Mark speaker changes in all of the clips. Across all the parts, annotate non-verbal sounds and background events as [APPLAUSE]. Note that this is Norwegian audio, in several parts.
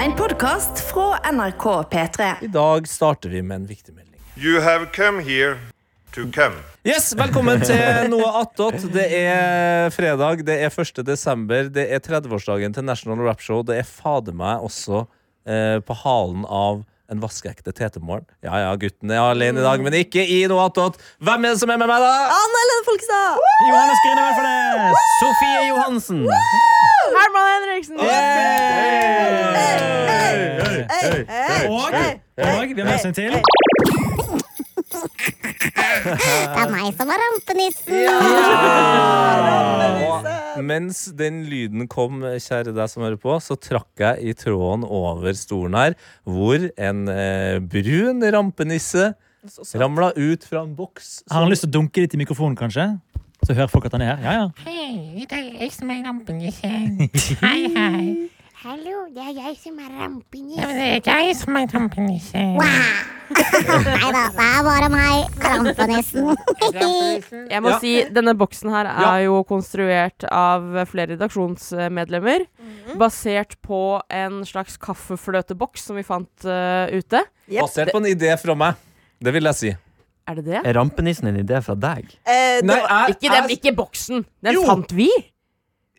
Speaker 1: En podkast fra NRK P3.
Speaker 2: I dag starter vi med en viktig melding.
Speaker 3: You have come here to come.
Speaker 2: Yes, Velkommen til Noe attåt. Det er fredag, det er 1. desember, det er 30-årsdagen til National Rap Show. Det er fader meg også eh, på halen av en vaskeekte tetemorgen. Ja ja, gutten er alene i dag, men ikke i Noe attåt. Hvem er det som er med meg, da?
Speaker 1: Anne Helene Folkestad!
Speaker 4: Johannes Grine Velfarnes! Sofie Johansen!
Speaker 5: Herman Henriksen!
Speaker 4: Og, og vi har med oss en til.
Speaker 6: Det er meg som er rampenissen.
Speaker 2: Og mens den lyden kom, kjære deg som hører på, så trakk jeg i tråden over stolen her, hvor en eh, brun rampenisse ramla ut fra en boks.
Speaker 4: Har han lyst til å dunke litt i mikrofonen, kanskje? Så hører folk at han er her. Ja, ja.
Speaker 7: Hei, det er jeg som er rampenissen. Hei, hei.
Speaker 6: Hallo, det er jeg som er
Speaker 7: Ja, men
Speaker 6: rampenissen.
Speaker 7: det er jeg som er rampenissen.
Speaker 6: Nei da, det er bare meg, rampenissen.
Speaker 5: Jeg må
Speaker 2: Ja.
Speaker 5: si, Denne boksen her er
Speaker 2: Ja.
Speaker 5: jo konstruert av flere redaksjonsmedlemmer.
Speaker 2: Mhm.
Speaker 5: Basert på en slags kaffefløteboks som vi fant eh, ute.
Speaker 8: Jepp.
Speaker 2: Basert på en idé fra meg. Det vil jeg si.
Speaker 5: Er det det?
Speaker 9: Er rampenissen en idé fra deg?
Speaker 8: Eh,
Speaker 2: Nei,
Speaker 8: det var,
Speaker 2: jeg-
Speaker 5: Ikke, den,
Speaker 2: jeg-
Speaker 5: ikke boksen! Den
Speaker 2: Jo.
Speaker 5: fant vi!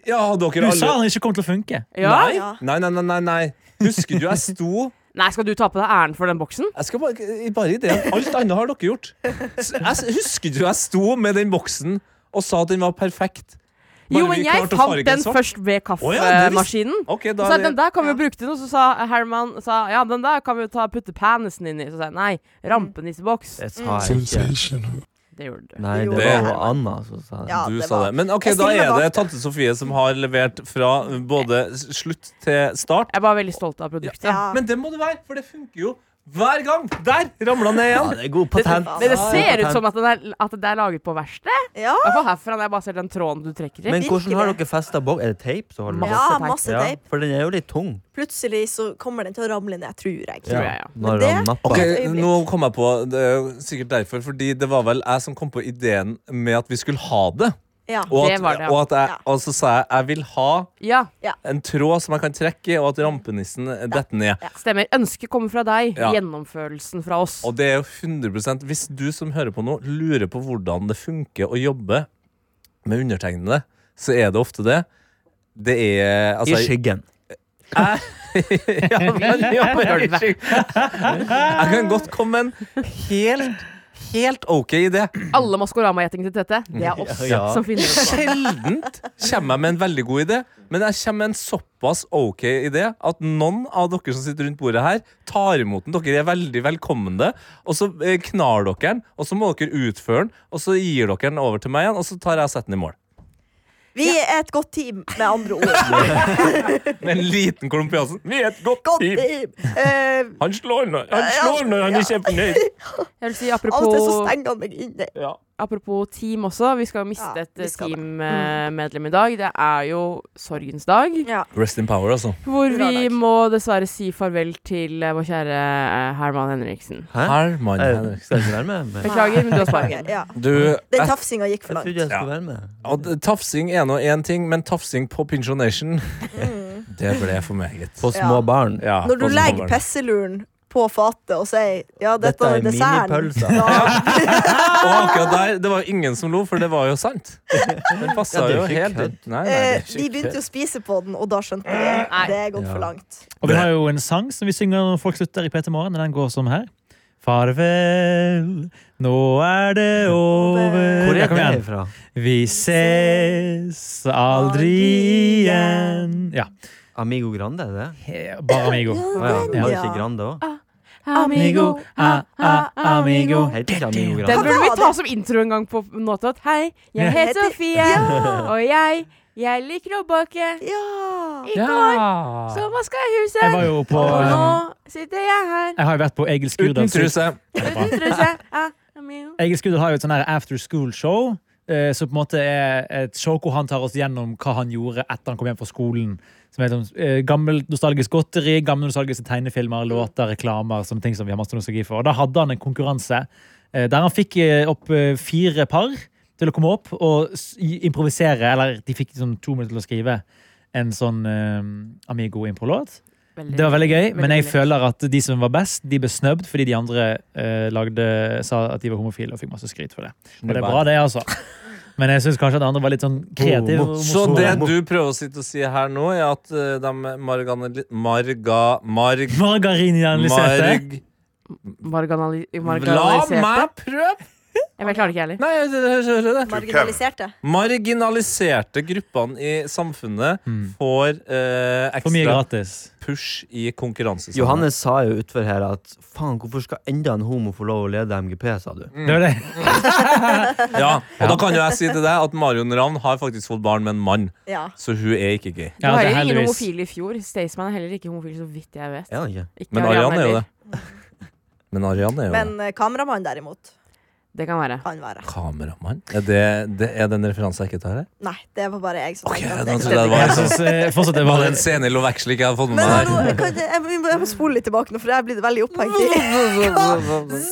Speaker 2: Ja, dere
Speaker 4: Du sa
Speaker 2: alle
Speaker 4: han ikke kom til å funke.
Speaker 5: Ja. Nei.
Speaker 8: ja.
Speaker 2: Nei, nei, nei, nei, nei. Husker du jeg sto
Speaker 5: skal du ta på deg æren for den boksen?
Speaker 2: Jeg skal bare, i- bare ideen. Alt annet har dere gjort. S- Jeg, s- husker du jeg sto med den boksen og sa at den var perfekt? Bare
Speaker 5: Jo, men
Speaker 2: vi
Speaker 5: jeg
Speaker 2: klarte å
Speaker 5: fant
Speaker 2: farge sånn.
Speaker 5: den
Speaker 2: svart.
Speaker 5: først ved
Speaker 2: Å ja, det visste-
Speaker 5: kaffemaskinen.
Speaker 2: Ok, da
Speaker 5: Så sa
Speaker 2: er
Speaker 5: jeg,
Speaker 2: det
Speaker 5: den der kan vi jo bruke til noe, så sa Herman sa, ja, den der kan vi jo ta putte penisen inn i. Så sa jeg
Speaker 2: Mm.
Speaker 5: nei, rampenisseboks.
Speaker 4: Eh,
Speaker 9: Det sa jeg ikke.
Speaker 5: Det gjorde du.
Speaker 9: Nei, det
Speaker 2: Det-
Speaker 9: var Anna som sa det.
Speaker 8: Ja,
Speaker 2: du
Speaker 8: det
Speaker 2: sa
Speaker 8: var-
Speaker 2: det. Men ok,
Speaker 8: Jeg
Speaker 2: da
Speaker 8: stiller meg
Speaker 2: er
Speaker 8: bak
Speaker 2: det tante Sofie som har levert fra både s- slutt til start.
Speaker 5: Jeg er bare veldig stolt av produktet.
Speaker 8: Ja.
Speaker 2: Men det må det være, for det funker jo hver gang. Der ramla ned
Speaker 9: Ja,
Speaker 2: igjen.
Speaker 9: det er god patent.
Speaker 8: Men
Speaker 5: Men det ser ut
Speaker 9: Patent.
Speaker 5: som at, den er, at det er laget på verksted.
Speaker 8: ja.
Speaker 5: I hvert fall herfra når jeg bare ser den tråden du trekker i.
Speaker 9: Men hvordan har dere festa bok? Er det teip som holder
Speaker 8: ja,
Speaker 5: teip.
Speaker 8: masse
Speaker 9: Ja,
Speaker 8: teip.
Speaker 9: for den er jo litt tung.
Speaker 8: Plutselig så kommer den til å ramle ned, tror jeg.
Speaker 5: Tror jeg, ja.
Speaker 9: Når
Speaker 8: Men
Speaker 9: han
Speaker 8: det-
Speaker 9: napper.
Speaker 2: Ok,
Speaker 8: Et øyeblikk.
Speaker 2: Nå kom jeg på det er jo sikkert derfor, fordi det var vel jeg som kom på ideen med at vi skulle ha det.
Speaker 8: Ja.
Speaker 2: Og at,
Speaker 5: Det var det, ja.
Speaker 2: og at jeg,
Speaker 8: Ja.
Speaker 2: og så sa jeg jeg vil ha
Speaker 5: Ja,
Speaker 2: en tråd som jeg kan trekke i, og at rampenissen detter ned.
Speaker 5: stemmer. Ønsket kommer fra deg,
Speaker 2: Ja.
Speaker 5: gjennomførelsen fra oss.
Speaker 2: Og det er jo 100 Hvis du som hører på nå, lurer på hvordan det funker å jobbe med undertegnede, så er det ofte det. Det er [LAUGHS]
Speaker 9: I
Speaker 2: altså,
Speaker 9: skyggen.
Speaker 2: ja, men, ja, men, Jeg kan godt komme med en helt, helt OK idé.
Speaker 5: Alle Maskorama-gjettingene til Tete, det er oss
Speaker 9: Ja.
Speaker 5: som finner ut.
Speaker 2: Sjeldent kommer jeg med en veldig god idé, men jeg kommer med en såpass ok idé at noen av dere som sitter rundt bordet her, tar imot den. Dere er veldig velkomne. Og så eh, knar dere den, og så må dere utføre den, og så gir dere den over til meg igjen, og så tar jeg og setter den i mål.
Speaker 8: Vi er et godt team, med andre ord.
Speaker 2: [LAUGHS] Med en liten klump i halsen. Vi er et godt
Speaker 8: Godt
Speaker 2: team.
Speaker 8: team. Eh,
Speaker 2: Han slår når han, slår når han er kjempefornøyd.
Speaker 5: Jeg vil si
Speaker 8: av og til så
Speaker 5: apropos,
Speaker 8: stenger han meg inne.
Speaker 2: Ja.
Speaker 5: apropos team også, vi skal jo miste
Speaker 8: Ja,
Speaker 5: et
Speaker 8: vi skal det. Mm.
Speaker 5: teammedlem i dag. Det er jo sorgens dag.
Speaker 8: Ja.
Speaker 2: Rest in power, altså.
Speaker 5: Hvor
Speaker 8: Bra
Speaker 5: vi
Speaker 8: dag.
Speaker 5: må dessverre si farvel til eh, vår kjære eh, Herman Henriksen.
Speaker 9: Hæ?
Speaker 2: Herman
Speaker 9: Eh,
Speaker 2: Henriksen.
Speaker 9: Skal jeg ikke være med? Men-
Speaker 5: Beklager, men du har sparken.
Speaker 8: [LAUGHS] Ja.
Speaker 2: Du,
Speaker 8: Den
Speaker 2: jeg,
Speaker 8: [LAUGHS] tafsinga gikk for
Speaker 9: Jeg trodde
Speaker 8: langt.
Speaker 9: jeg skulle være med.
Speaker 2: og tafsing er nå én ting, men tafsing på pensjonation, [LAUGHS] det ble for meget.
Speaker 9: På små
Speaker 8: Ja.
Speaker 9: barn.
Speaker 2: Ja,
Speaker 8: Mm. Når du
Speaker 2: på
Speaker 8: legger
Speaker 2: sommeren.
Speaker 8: pesseluren på fatet og sier ja, dette,
Speaker 9: Dette er
Speaker 8: er desserten
Speaker 9: minipølser. [LAUGHS]
Speaker 8: Ja.
Speaker 2: Og akkurat der, det var jo ingen som lo, for det var jo sant. Den passa
Speaker 9: Ja, det er
Speaker 2: jo
Speaker 9: ikke
Speaker 2: helt
Speaker 9: kødd.
Speaker 2: Nei, nei, det
Speaker 8: Eh,
Speaker 2: er
Speaker 8: Vi
Speaker 2: ikke
Speaker 8: begynte
Speaker 2: kødd.
Speaker 8: jo å spise på den, og da skjønte vi
Speaker 5: Nei.
Speaker 8: det. Det er gått
Speaker 9: Ja.
Speaker 8: for langt.
Speaker 4: Og vi har jo en sang som vi synger når folk slutter i P3 Morgen, og den går som her. Farvel, nå er det
Speaker 9: Hvor
Speaker 4: over.
Speaker 9: er
Speaker 4: Ja, kom
Speaker 9: det
Speaker 4: igjen.
Speaker 9: ifra?
Speaker 4: Vi ses aldri igjen. Ja.
Speaker 9: Amigo Grande, er det?
Speaker 4: he- Bare Amigo.
Speaker 9: Å ja,
Speaker 8: Ja.
Speaker 9: var det ikke Grande òg?
Speaker 5: Amigo, ah, ah, amigo.
Speaker 9: Heter ikke Amigo
Speaker 5: Den
Speaker 9: Grande?
Speaker 5: burde
Speaker 8: var
Speaker 5: vi ta
Speaker 8: det?
Speaker 5: som intro en gang på Nåtot. Hei, jeg
Speaker 4: Ja.
Speaker 5: heter Sofie, og jeg, jeg liker å bake.
Speaker 8: Ja.
Speaker 5: I går så vaska jeg
Speaker 4: Jeg
Speaker 5: huset,
Speaker 4: var jo på
Speaker 5: og nå
Speaker 4: eh,
Speaker 5: sitter jeg her
Speaker 4: Jeg har jo vært på Egil Skurdal.
Speaker 2: Uten truse.
Speaker 5: uten truse. Ah, amigo.
Speaker 4: Egil Skurdal har jo et sånn her after school-show. eh, Som på en måte er et show hvor han tar oss gjennom hva han gjorde etter han kom hjem fra skolen. Som er sånn, eh, Gammelt nostalgisk godteri, gamle nostalgiske tegnefilmer, låter, reklamer. sånne ting som vi har masse nostalgi for. Og Da hadde han en konkurranse eh, der han fikk eh, opp eh, fire par til å komme opp og s- i- improvisere. Eller de fikk sånn to minutter til å skrive en sånn eh, Amigo-impro-låt.
Speaker 5: Veldig,
Speaker 4: Det var veldig gøy, men jeg
Speaker 5: veldig.
Speaker 4: føler at de som var best, de ble snøbbed fordi de andre eh, lagde, sa at de var homofile og fikk masse skryt for det. Og det er bra, det,
Speaker 5: [LAUGHS]
Speaker 4: altså. Men jeg syns kanskje at andre var litt sånn kreative. og
Speaker 2: Så
Speaker 4: morsomme.
Speaker 2: det du prøver å sitte og si her nå, er at eh, de marganali... Marga... Marg...
Speaker 4: Margarinjernaliserte.
Speaker 2: Marg...
Speaker 5: Marginali
Speaker 2: La
Speaker 5: marginaliserte.
Speaker 2: meg prøve!
Speaker 5: Jeg vet, klarer det ikke heller.
Speaker 2: Nei, jeg hører- hører det.
Speaker 8: Marginaliserte.
Speaker 2: Marginaliserte gruppene i samfunnet får eh,
Speaker 4: Mm. For
Speaker 2: ekstra
Speaker 4: mye gratis.
Speaker 2: push i konkurransesammenheng.
Speaker 9: Johannes sa jo utfor her at faen, hvorfor skal enda en homo få lov å lede MGP, sa du.
Speaker 2: Mm.
Speaker 4: Det var det.
Speaker 2: [LAUGHS] Ja, og da kan jo jeg si til deg at Marion Ravn har faktisk fått barn med en mann,
Speaker 8: Ja.
Speaker 2: så hun er ikke gay.
Speaker 5: Det
Speaker 4: Ja,
Speaker 5: var
Speaker 4: det er
Speaker 5: jo ingen
Speaker 4: heldigvis-
Speaker 5: homofile i fjor. Staysman er heller ikke homofil, så vidt jeg vet.
Speaker 9: Er han ikke?
Speaker 5: Ikke
Speaker 2: Men
Speaker 5: Ariana
Speaker 2: Arian er jo
Speaker 5: heller.
Speaker 2: det. Men Arian er jo det.
Speaker 8: Men eh, kameramann derimot
Speaker 5: Det kan være.
Speaker 8: kan være.
Speaker 2: Kameramann? Er det, det er det en referanse jeg ikke tar her?
Speaker 8: Nei, det var bare jeg som
Speaker 2: Ok,
Speaker 8: tenkte at
Speaker 2: da
Speaker 8: det-
Speaker 2: trodde jeg det var
Speaker 4: Jeg
Speaker 2: liksom
Speaker 4: syns eh, fortsatt det
Speaker 2: Var
Speaker 4: var
Speaker 2: det en scene i Love Actually ikke jeg hadde fått med
Speaker 8: Men
Speaker 2: meg
Speaker 8: hallo,
Speaker 2: her?
Speaker 8: kan jeg, jeg, må- jeg må spole litt tilbake nå, for jeg er blitt veldig opphengt
Speaker 5: [LAUGHS]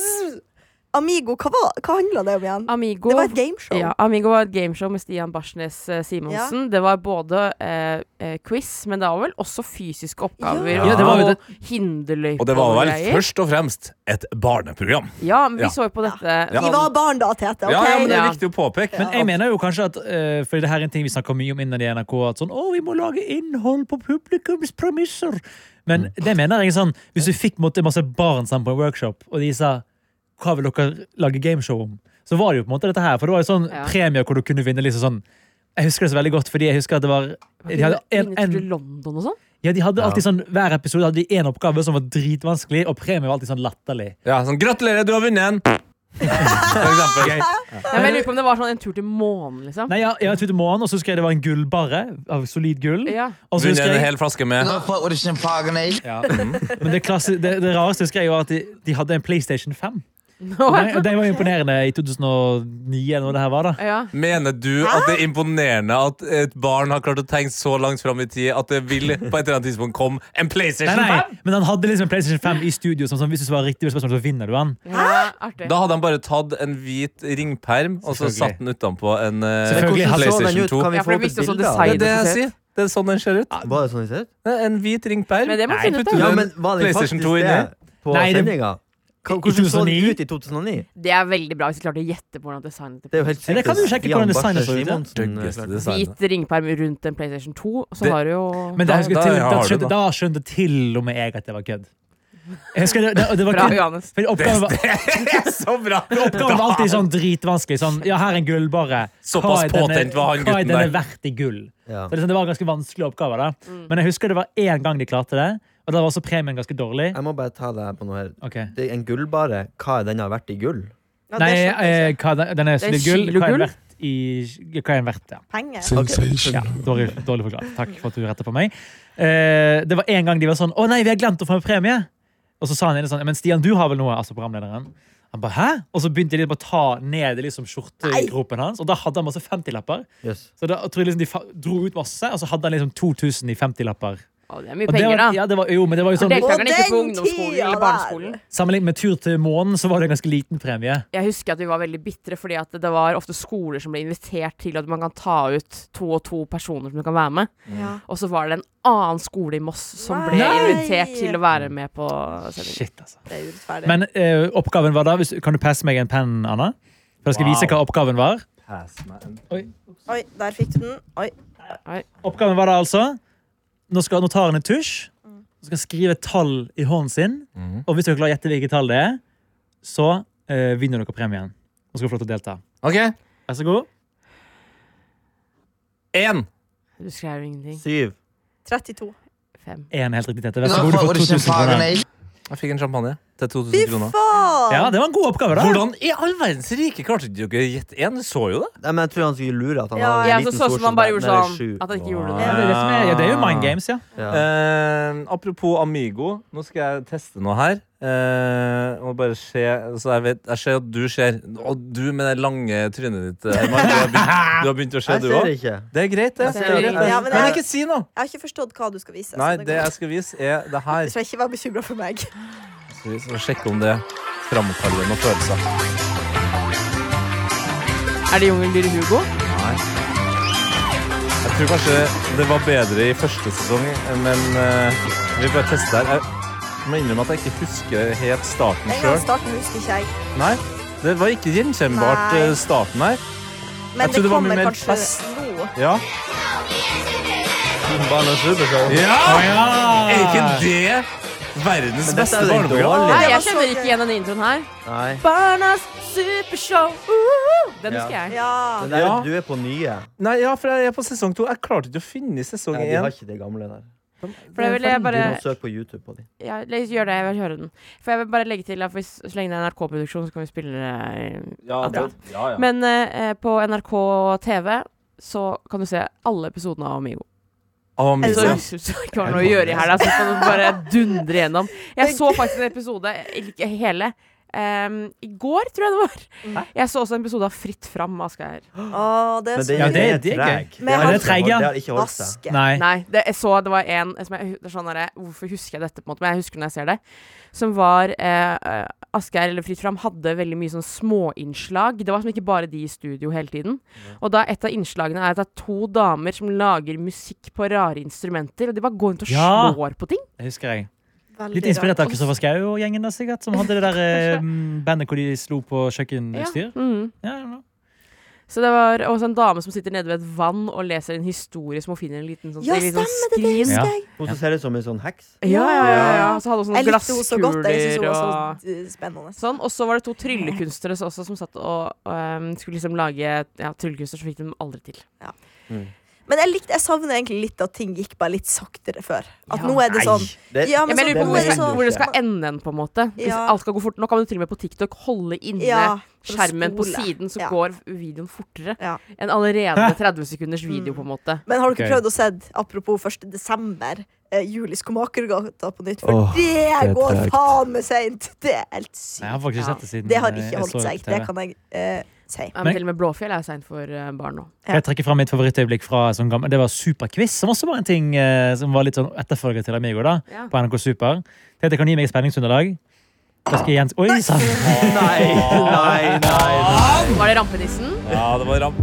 Speaker 8: i Hva- Amigo, hva, var- hva handla det om igjen?
Speaker 5: Amigo
Speaker 8: Det var et gameshow.
Speaker 5: Ja, Amigo var et gameshow med Stian Barsnes eh, Simonsen. Det var både eh, eh, quiz, men det var vel også fysiske oppgaver.
Speaker 4: Ja, det var jo det.
Speaker 5: Og hinderløyper
Speaker 2: Og det var vel
Speaker 5: greier.
Speaker 2: først og fremst et barneprogram.
Speaker 5: Ja, men vi
Speaker 2: Ja.
Speaker 5: så jo på dette. sånn
Speaker 2: Ja.
Speaker 8: Vi var barn da, Tete. ok?
Speaker 2: Ja, ja, men det er
Speaker 5: Ja.
Speaker 2: viktig å påpeke.
Speaker 4: Men jeg mener jo kanskje at eh, Fordi det her er en ting vi snakker mye om innad i NRK. At sånn, å, vi må lage innhold på publikums premisser. Men det mener jeg er sånn hvis du fikk måtte, masse barn sammen på en workshop, og de sa hva vil dere lage gameshow om, så var det jo på en måte dette her. For det var jo sånn
Speaker 5: Ja.
Speaker 4: premier hvor du kunne vinne liksom sånn jeg husker det så veldig godt, fordi jeg husker at det var De hadde, en,
Speaker 5: Inne
Speaker 4: en,
Speaker 5: til London og sånn.
Speaker 4: ja, de hadde alltid sånn, Hver episode hadde de én oppgave som var dritvanskelig, og premien var alltid sånn latterlig.
Speaker 2: Ja, sånn, Gratulerer, du har vunnet en! For eksempel.
Speaker 5: Ja, men jeg lurer på om det var sånn en tur til månen, liksom.
Speaker 4: Nei, ja, ja, jeg trodde morgen, og så skrev jeg det var en gullbarre av solid gull.
Speaker 5: Ja.
Speaker 4: Og så
Speaker 2: Vunnet
Speaker 4: husker
Speaker 2: en
Speaker 4: jeg
Speaker 2: hel flaske med
Speaker 4: Ja. [LAUGHS] Men det, klasse, det, det rareste husker jeg jo at de, de hadde en PlayStation 5. Og
Speaker 5: Nå-
Speaker 4: Det, det var imponerende i 2009 eller når det her var, da.
Speaker 5: ja.
Speaker 2: Mener du at det er imponerende at et barn har klart å tenke så langt fram i tid at det vil på et eller annet tidspunkt komme en
Speaker 4: Nei,
Speaker 2: PlayStation
Speaker 4: nei,
Speaker 2: 5?
Speaker 4: men han hadde liksom en PlayStation 5 i studio. Sånn, som hvis du svarer riktig på spørsmål, så vinner du den.
Speaker 5: ja artig.
Speaker 2: Da hadde han bare tatt en hvit ringperm og så
Speaker 4: Selvfølgelig.
Speaker 2: satt den utenpå en eh,
Speaker 4: Selvfølgelig.
Speaker 9: Hvordan så den
Speaker 2: PlayStation
Speaker 9: ut?
Speaker 2: 2.
Speaker 9: Kan vi
Speaker 5: Ja, for
Speaker 9: få
Speaker 5: det
Speaker 9: opp et
Speaker 5: viste også
Speaker 9: bilde av
Speaker 2: Det
Speaker 5: design.
Speaker 2: er
Speaker 9: det?
Speaker 2: det jeg sier. Det er sånn den ser ut.
Speaker 9: Var det sånn det ser ut?
Speaker 2: En hvit ringperm.
Speaker 5: Men det må
Speaker 2: Nei,
Speaker 5: finne ut
Speaker 2: putter
Speaker 5: av.
Speaker 2: du
Speaker 9: Ja,
Speaker 2: en
Speaker 9: men var det
Speaker 2: PlayStation
Speaker 9: faktisk
Speaker 2: 2 inni?
Speaker 9: det på
Speaker 4: Nei, det-
Speaker 9: sendinga?
Speaker 4: I
Speaker 9: Hvordan så den
Speaker 4: 2009?
Speaker 9: ut i 2009?
Speaker 5: Det er veldig bra hvis du klarte å gjette på hvordan designet
Speaker 9: Det er jo helt
Speaker 4: Men det kan du sjekke
Speaker 9: Stian
Speaker 4: hvordan designet
Speaker 9: Barsnes
Speaker 4: så ut, ja.
Speaker 9: Simonsen, eh,
Speaker 2: Styggeste
Speaker 9: klarte.
Speaker 2: designet.
Speaker 5: Hvit ringperm rundt en PlayStation 2, så
Speaker 2: Det-
Speaker 5: har du jo
Speaker 4: Men da,
Speaker 2: Da-
Speaker 4: husker jeg
Speaker 2: da
Speaker 4: til,
Speaker 2: har
Speaker 4: da,
Speaker 2: du
Speaker 4: skjønte,
Speaker 2: det,
Speaker 4: da skjønte til og med jeg at det var kødd. Jeg husker det, det, det var
Speaker 5: Bra,
Speaker 4: kødd.
Speaker 5: Johannes.
Speaker 4: Fordi oppgaven var,
Speaker 2: Så bra!
Speaker 4: oppgaven var alltid sånn dritvanskelig. Sånn, ja, her er en gullbarre.
Speaker 2: Såpass
Speaker 4: Hva er denne-
Speaker 2: påtent var han
Speaker 4: Hva er
Speaker 2: gutten
Speaker 4: denne
Speaker 2: der.
Speaker 4: verdt i gull?
Speaker 9: Ja.
Speaker 4: Så det, er sånn, det var ganske vanskelige oppgaver. da
Speaker 5: Mm.
Speaker 4: Men jeg husker det var én gang de klarte det, og da var også premien ganske dårlig.
Speaker 9: Jeg må bare ta det her på noe her.
Speaker 4: Ok.
Speaker 9: Det er en gullbare. Hva er den har vært i gull?
Speaker 8: Ja, det
Speaker 4: Nei,
Speaker 8: skjønte jeg
Speaker 4: eh,
Speaker 8: ikke.
Speaker 4: hva, den- den er
Speaker 5: Det er
Speaker 4: solid gull. Hva er den
Speaker 5: kilogull.
Speaker 4: verdt i Hva er den verdt, ja.
Speaker 8: Penger.
Speaker 4: ja dårlig, dårlig forklart. Takk for at du rettet på meg. Eh, det var en gang de var sånn Å nei, vi har glemt å få en premie! Og så sa han ene sånn Men Stian, du har vel noe? Altså programlederen. Han ba, Hæ? Og så begynte de bare å ta ned i liksom, skjortegropen hans, og da hadde han masse 50-lapper.
Speaker 9: Yes.
Speaker 4: Så da tror jeg liksom de fa dro ut masse, og så hadde han liksom 2000 i 50-lapper.
Speaker 5: Å, Det er mye
Speaker 4: Og det
Speaker 5: penger, da.
Speaker 4: var, ja, det var, jo, men det var jo sånn,
Speaker 8: Og
Speaker 5: Deltakerne gikk på
Speaker 8: den
Speaker 5: ungdomsskolen
Speaker 8: tida
Speaker 5: eller barneskolen.
Speaker 4: Sammenlignet med tur til månen så var det en ganske liten premie.
Speaker 5: Jeg husker at vi var veldig bitre, fordi at det var ofte skoler som ble invitert til at man kan ta ut to og to personer som du kan være med.
Speaker 8: Ja.
Speaker 5: Og så var det en annen skole i Moss som ble
Speaker 8: Nei!
Speaker 5: invitert til å være med på sendingen.
Speaker 4: Shit, altså.
Speaker 8: Det er urettferdig.
Speaker 4: Men eh, oppgaven var da hvis, Kan du passe meg en penn, Anna? For jeg skal vise hva oppgaven var.
Speaker 8: Oi, der fikk du den. Oi.
Speaker 4: Oppgaven var da altså Nå skal notaren en tusj. Så skal han skrive et tall i hånden sin.
Speaker 2: Mm.
Speaker 4: Og hvis dere klarer å gjette hvilket tall det er, så eh, vinner dere premien. Og skal få lov til å delta.
Speaker 2: Ok,
Speaker 4: Vær så god.
Speaker 2: Én.
Speaker 5: Du skrev jo ingenting.
Speaker 9: Syv.
Speaker 8: 32.
Speaker 5: Fem.
Speaker 4: En helt riktig tette. Vær så god. Du får 2000 kroner.
Speaker 2: Jeg fikk en champagne til
Speaker 8: Fy
Speaker 2: 2000 kroner.
Speaker 8: faen!
Speaker 4: Ja, det var en god oppgave, da.
Speaker 2: Hvordan i all verdens rike klarte dere å gjette én? Du så jo det.
Speaker 9: Nei, men jeg tror han skulle lure at han
Speaker 8: Ja,
Speaker 9: hadde
Speaker 5: Ja,
Speaker 9: en
Speaker 5: så
Speaker 9: liten
Speaker 5: så ut som han bare gjorde
Speaker 9: Nei, det er
Speaker 5: sånn.
Speaker 9: sju.
Speaker 5: At han ikke gjorde det.
Speaker 4: Ja, det, er det, som er, ja, det er jo mind games, ja.
Speaker 9: Ja.
Speaker 2: Eh, apropos Amigo, nå skal jeg teste noe her. Eh, og bare se Så jeg vet Jeg ser at du ser. Og du med det lange trynet ditt, Herman. Du har begynt, du har begynt å se,
Speaker 9: [LAUGHS] Jeg
Speaker 2: du
Speaker 9: ser
Speaker 2: òg.
Speaker 9: ikke.
Speaker 2: Det er greit, det.
Speaker 5: Jeg ser
Speaker 2: det, er greit, det.
Speaker 8: Ja, men
Speaker 2: men
Speaker 8: det er-
Speaker 2: ikke si noe!
Speaker 8: Jeg har ikke forstått hva du skal vise. så
Speaker 2: Nei,
Speaker 8: det
Speaker 2: det
Speaker 8: går
Speaker 2: jeg skal vise, er det
Speaker 8: bra.
Speaker 2: her.
Speaker 8: Så jeg ikke vær bekymra for meg.
Speaker 2: Så vi skal sjekke om det framkaller noen følelser.
Speaker 5: Er det Jungeldyret Hugo?
Speaker 2: Nei. Jeg tror kanskje det var bedre i første sesong, men eh, vi bare tester her. Jeg må innrømme at jeg ikke husker helt starten
Speaker 8: En gang
Speaker 2: sjøl.
Speaker 8: starten husker ikke jeg.
Speaker 2: Nei, det var ikke gjenkjennbart
Speaker 8: Nei.
Speaker 2: eh, starten her.
Speaker 8: Men
Speaker 2: Jeg
Speaker 8: det
Speaker 2: trodde det var mye
Speaker 8: kommer
Speaker 2: mer
Speaker 8: kanskje
Speaker 2: fest.
Speaker 8: nå.
Speaker 2: Ja.
Speaker 9: Barnas Supershow.
Speaker 2: ja!
Speaker 4: Ja!
Speaker 2: Er ikke det verdens
Speaker 9: dette er
Speaker 2: beste
Speaker 9: jo
Speaker 2: barneprogram?
Speaker 5: Nei,
Speaker 9: dårlig.
Speaker 8: det var
Speaker 5: jeg
Speaker 8: så
Speaker 5: kjenner
Speaker 8: gøy.
Speaker 5: ikke igjen den introen her.
Speaker 9: Nei.
Speaker 5: Barnas supershow. Uh, den
Speaker 9: Ja.
Speaker 5: husker jeg.
Speaker 8: Ja.
Speaker 9: Men der,
Speaker 2: Ja.
Speaker 9: Du er på nye.
Speaker 2: Nei, ja, for jeg er på sesong to. Jeg klarte ikke å finne sesong
Speaker 9: Nei, de
Speaker 2: én.
Speaker 9: har ikke det gamle der.
Speaker 5: For jeg vil jeg
Speaker 9: Du
Speaker 5: bare
Speaker 9: må søke på YouTube på de.
Speaker 5: ja, le- Gjør det, jeg vil høre den. For jeg vil bare legge til at hvis, så lenge det er NRK-produksjon, så kan vi spille eh, det.
Speaker 2: Ja,
Speaker 5: det-
Speaker 2: ja, ja.
Speaker 5: Men eh, på NRK TV så kan du se alle episodene av Amigo.
Speaker 2: Av Amir,
Speaker 5: Så
Speaker 2: ja.
Speaker 5: jeg syns ikke har noe å gjøre i helga, så kan du bare dundre gjennom. Jeg så faktisk en episode, ikke hele, em, i går, tror jeg det var. Jeg så også en episode av Fritt fram, Asgeir.
Speaker 8: Å, sånn- det er så
Speaker 4: Ja,
Speaker 8: gøy.
Speaker 4: det- det er
Speaker 9: treg.
Speaker 4: gøy.
Speaker 8: Men
Speaker 9: har
Speaker 4: Ja,
Speaker 8: han-
Speaker 9: ikke holdt-
Speaker 4: det er treg, ja.
Speaker 9: det har ikke holdt seg.
Speaker 8: Vaske.
Speaker 4: Nei.
Speaker 5: Nei, det, jeg så det var en som jeg, det er sånn derre, Hvorfor husker jeg dette, på en måte? Men jeg husker når jeg ser det. Som var eh, eh, Asgeir eller Fritt Fram hadde veldig mye sånn småinnslag. Det var som ikke bare de i studio hele tiden. Og da et av innslagene er at det er to damer som lager musikk på rare instrumenter, og de bare går rundt og
Speaker 4: Ja.
Speaker 5: slår på ting.
Speaker 4: Det husker jeg.
Speaker 8: Veldig
Speaker 4: Litt inspirert av
Speaker 8: rart.
Speaker 4: Kristoffer Schau og gjengen der, sikkert. Som hadde det [LAUGHS] der eh, bandet hvor de slo på kjøkkenutstyr.
Speaker 5: Mm.
Speaker 4: Ja, ja, ja.
Speaker 5: Så det var også en dame som sitter nede ved et vann og leser en historie som hun finner en liten sånn,
Speaker 8: Ja,
Speaker 5: en liten
Speaker 8: stemmer det, det
Speaker 5: skrin.
Speaker 8: husker
Speaker 4: Ja.
Speaker 8: jeg.
Speaker 9: Hun som ser ut som en sånn heks.
Speaker 5: Ja, ja, ja, ja. Og så hadde hun sånne
Speaker 8: Jeg likte henne så godt. Jeg synes hun
Speaker 5: glasskuler
Speaker 8: var
Speaker 5: og
Speaker 8: så eh, spennende.
Speaker 5: sånn. Og så var det to tryllekunstnere så- også som satt og ehm, skulle liksom lage ja, tryllekunster, så fikk de dem aldri til.
Speaker 8: Men jeg, likte, jeg savner egentlig litt at ting gikk bare litt saktere før. At
Speaker 5: Ja.
Speaker 8: nå er det sånn
Speaker 9: Det,
Speaker 5: Jeg
Speaker 8: Ja, men
Speaker 5: mener
Speaker 8: så
Speaker 5: på
Speaker 8: nå
Speaker 5: hvor
Speaker 8: er
Speaker 5: det
Speaker 8: det
Speaker 5: skal,
Speaker 8: sånn
Speaker 5: hvor det skal ende en, på en måte. Hvis
Speaker 8: Ja.
Speaker 5: alt skal gå fort. Nå kan du til og med på TikTok holde inne
Speaker 8: Ja, for å
Speaker 5: skjermen på
Speaker 8: spole.
Speaker 5: siden, så
Speaker 8: Ja.
Speaker 5: går videoen fortere
Speaker 8: Ja. Mm.
Speaker 5: enn allerede 30 sekunders video, på en måte.
Speaker 8: Men har dere
Speaker 4: Ok.
Speaker 8: prøvd å se, apropos 1. desember, eh, Juli Skomakergata på nytt? For
Speaker 9: Åh,
Speaker 8: det
Speaker 9: er
Speaker 8: går
Speaker 9: tregt.
Speaker 8: faen meg seint! Det er helt sykt.
Speaker 4: Jeg har faktisk
Speaker 5: Ja.
Speaker 4: sett det siden
Speaker 8: Det har
Speaker 4: eh,
Speaker 8: ikke
Speaker 4: jeg
Speaker 8: holdt
Speaker 4: så
Speaker 8: seg.
Speaker 4: på TV.
Speaker 8: Det kan jeg eh, si.
Speaker 5: Ja,
Speaker 4: Men-
Speaker 5: men til og med Blåfjell er sein for eh, barn nå.
Speaker 8: Ja.
Speaker 4: Jeg trekker fram mitt favorittøyeblikk fra sånn gammel Det var Superquiz, som også var en ting eh, som var litt sånn etterfølger til Amigo, da.
Speaker 5: Ja.
Speaker 4: På NRK Super. Det heter Kan gi meg et spenningsunderlag. Da skal [LAUGHS] jeg Jens Oi sann!
Speaker 9: Nei, nei, nei.
Speaker 5: Var det rampenissen?
Speaker 2: ja, det var ram...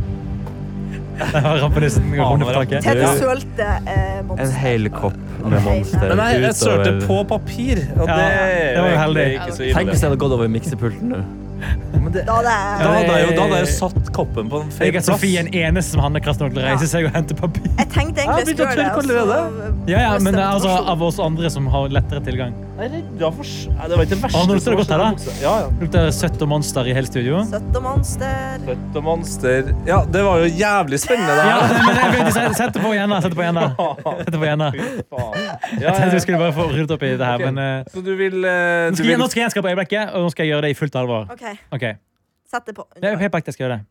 Speaker 4: Rampenissen går rundt på taket.
Speaker 8: Tete
Speaker 2: Du-
Speaker 8: sølte eh,
Speaker 9: En
Speaker 8: Monster.
Speaker 9: hel kopp med monster.
Speaker 2: Men jeg, jeg sølte
Speaker 9: utover-
Speaker 2: på papir, og
Speaker 4: Ja,
Speaker 2: det,
Speaker 4: det var
Speaker 2: egentlig
Speaker 4: jo heldig.
Speaker 2: Ikke så
Speaker 9: Tenk hvis
Speaker 2: ille.
Speaker 9: jeg hadde gått over miksepulten nå.
Speaker 8: Da hadde jeg-
Speaker 2: Da hadde jeg jo, da hadde jeg jo satt koppen på en
Speaker 4: Jeg
Speaker 2: feil
Speaker 4: er Sofie den eneste som handler krasnok til å reise seg og hente papir.
Speaker 8: Jeg tenkte
Speaker 2: Jeg har
Speaker 8: egentlig
Speaker 2: begynt å tørke
Speaker 8: altså, og så-
Speaker 4: Ja, ja, men
Speaker 8: Mest
Speaker 4: eh, altså
Speaker 8: motivasjon.
Speaker 4: av oss andre som har lettere tilgang.
Speaker 2: Jeg er redd av for... Nei, det var ikke det verste.
Speaker 4: Å, nå lukter det godt her, da.
Speaker 2: da. Ja, ja.
Speaker 4: Lukter søtt og monster i hele studio.
Speaker 8: Søtt og monster.
Speaker 2: Født og monster. Ja, det var jo jævlig spennende, det
Speaker 4: Ja,
Speaker 2: her.
Speaker 4: nei, men jeg begynte å se- Sett det på igjen, da. Sett det på igjen, da.
Speaker 2: [LAUGHS]
Speaker 4: Sett det på igjen, da.
Speaker 2: Faen.
Speaker 4: Jeg
Speaker 2: Ja,
Speaker 4: tenkte vi
Speaker 2: ja.
Speaker 4: skulle bare få ryddet opp i det her, men eh,
Speaker 2: Så du vil, eh,
Speaker 4: nå
Speaker 2: du
Speaker 4: skal
Speaker 2: vil
Speaker 4: jeg- Nå skal jeg gjenskape øyeblikket, og nå skal jeg gjøre det i fullt alvor.
Speaker 8: OK,
Speaker 4: Ok.
Speaker 8: sett det på.
Speaker 4: Ja, helt på ekte skal jeg gjøre det.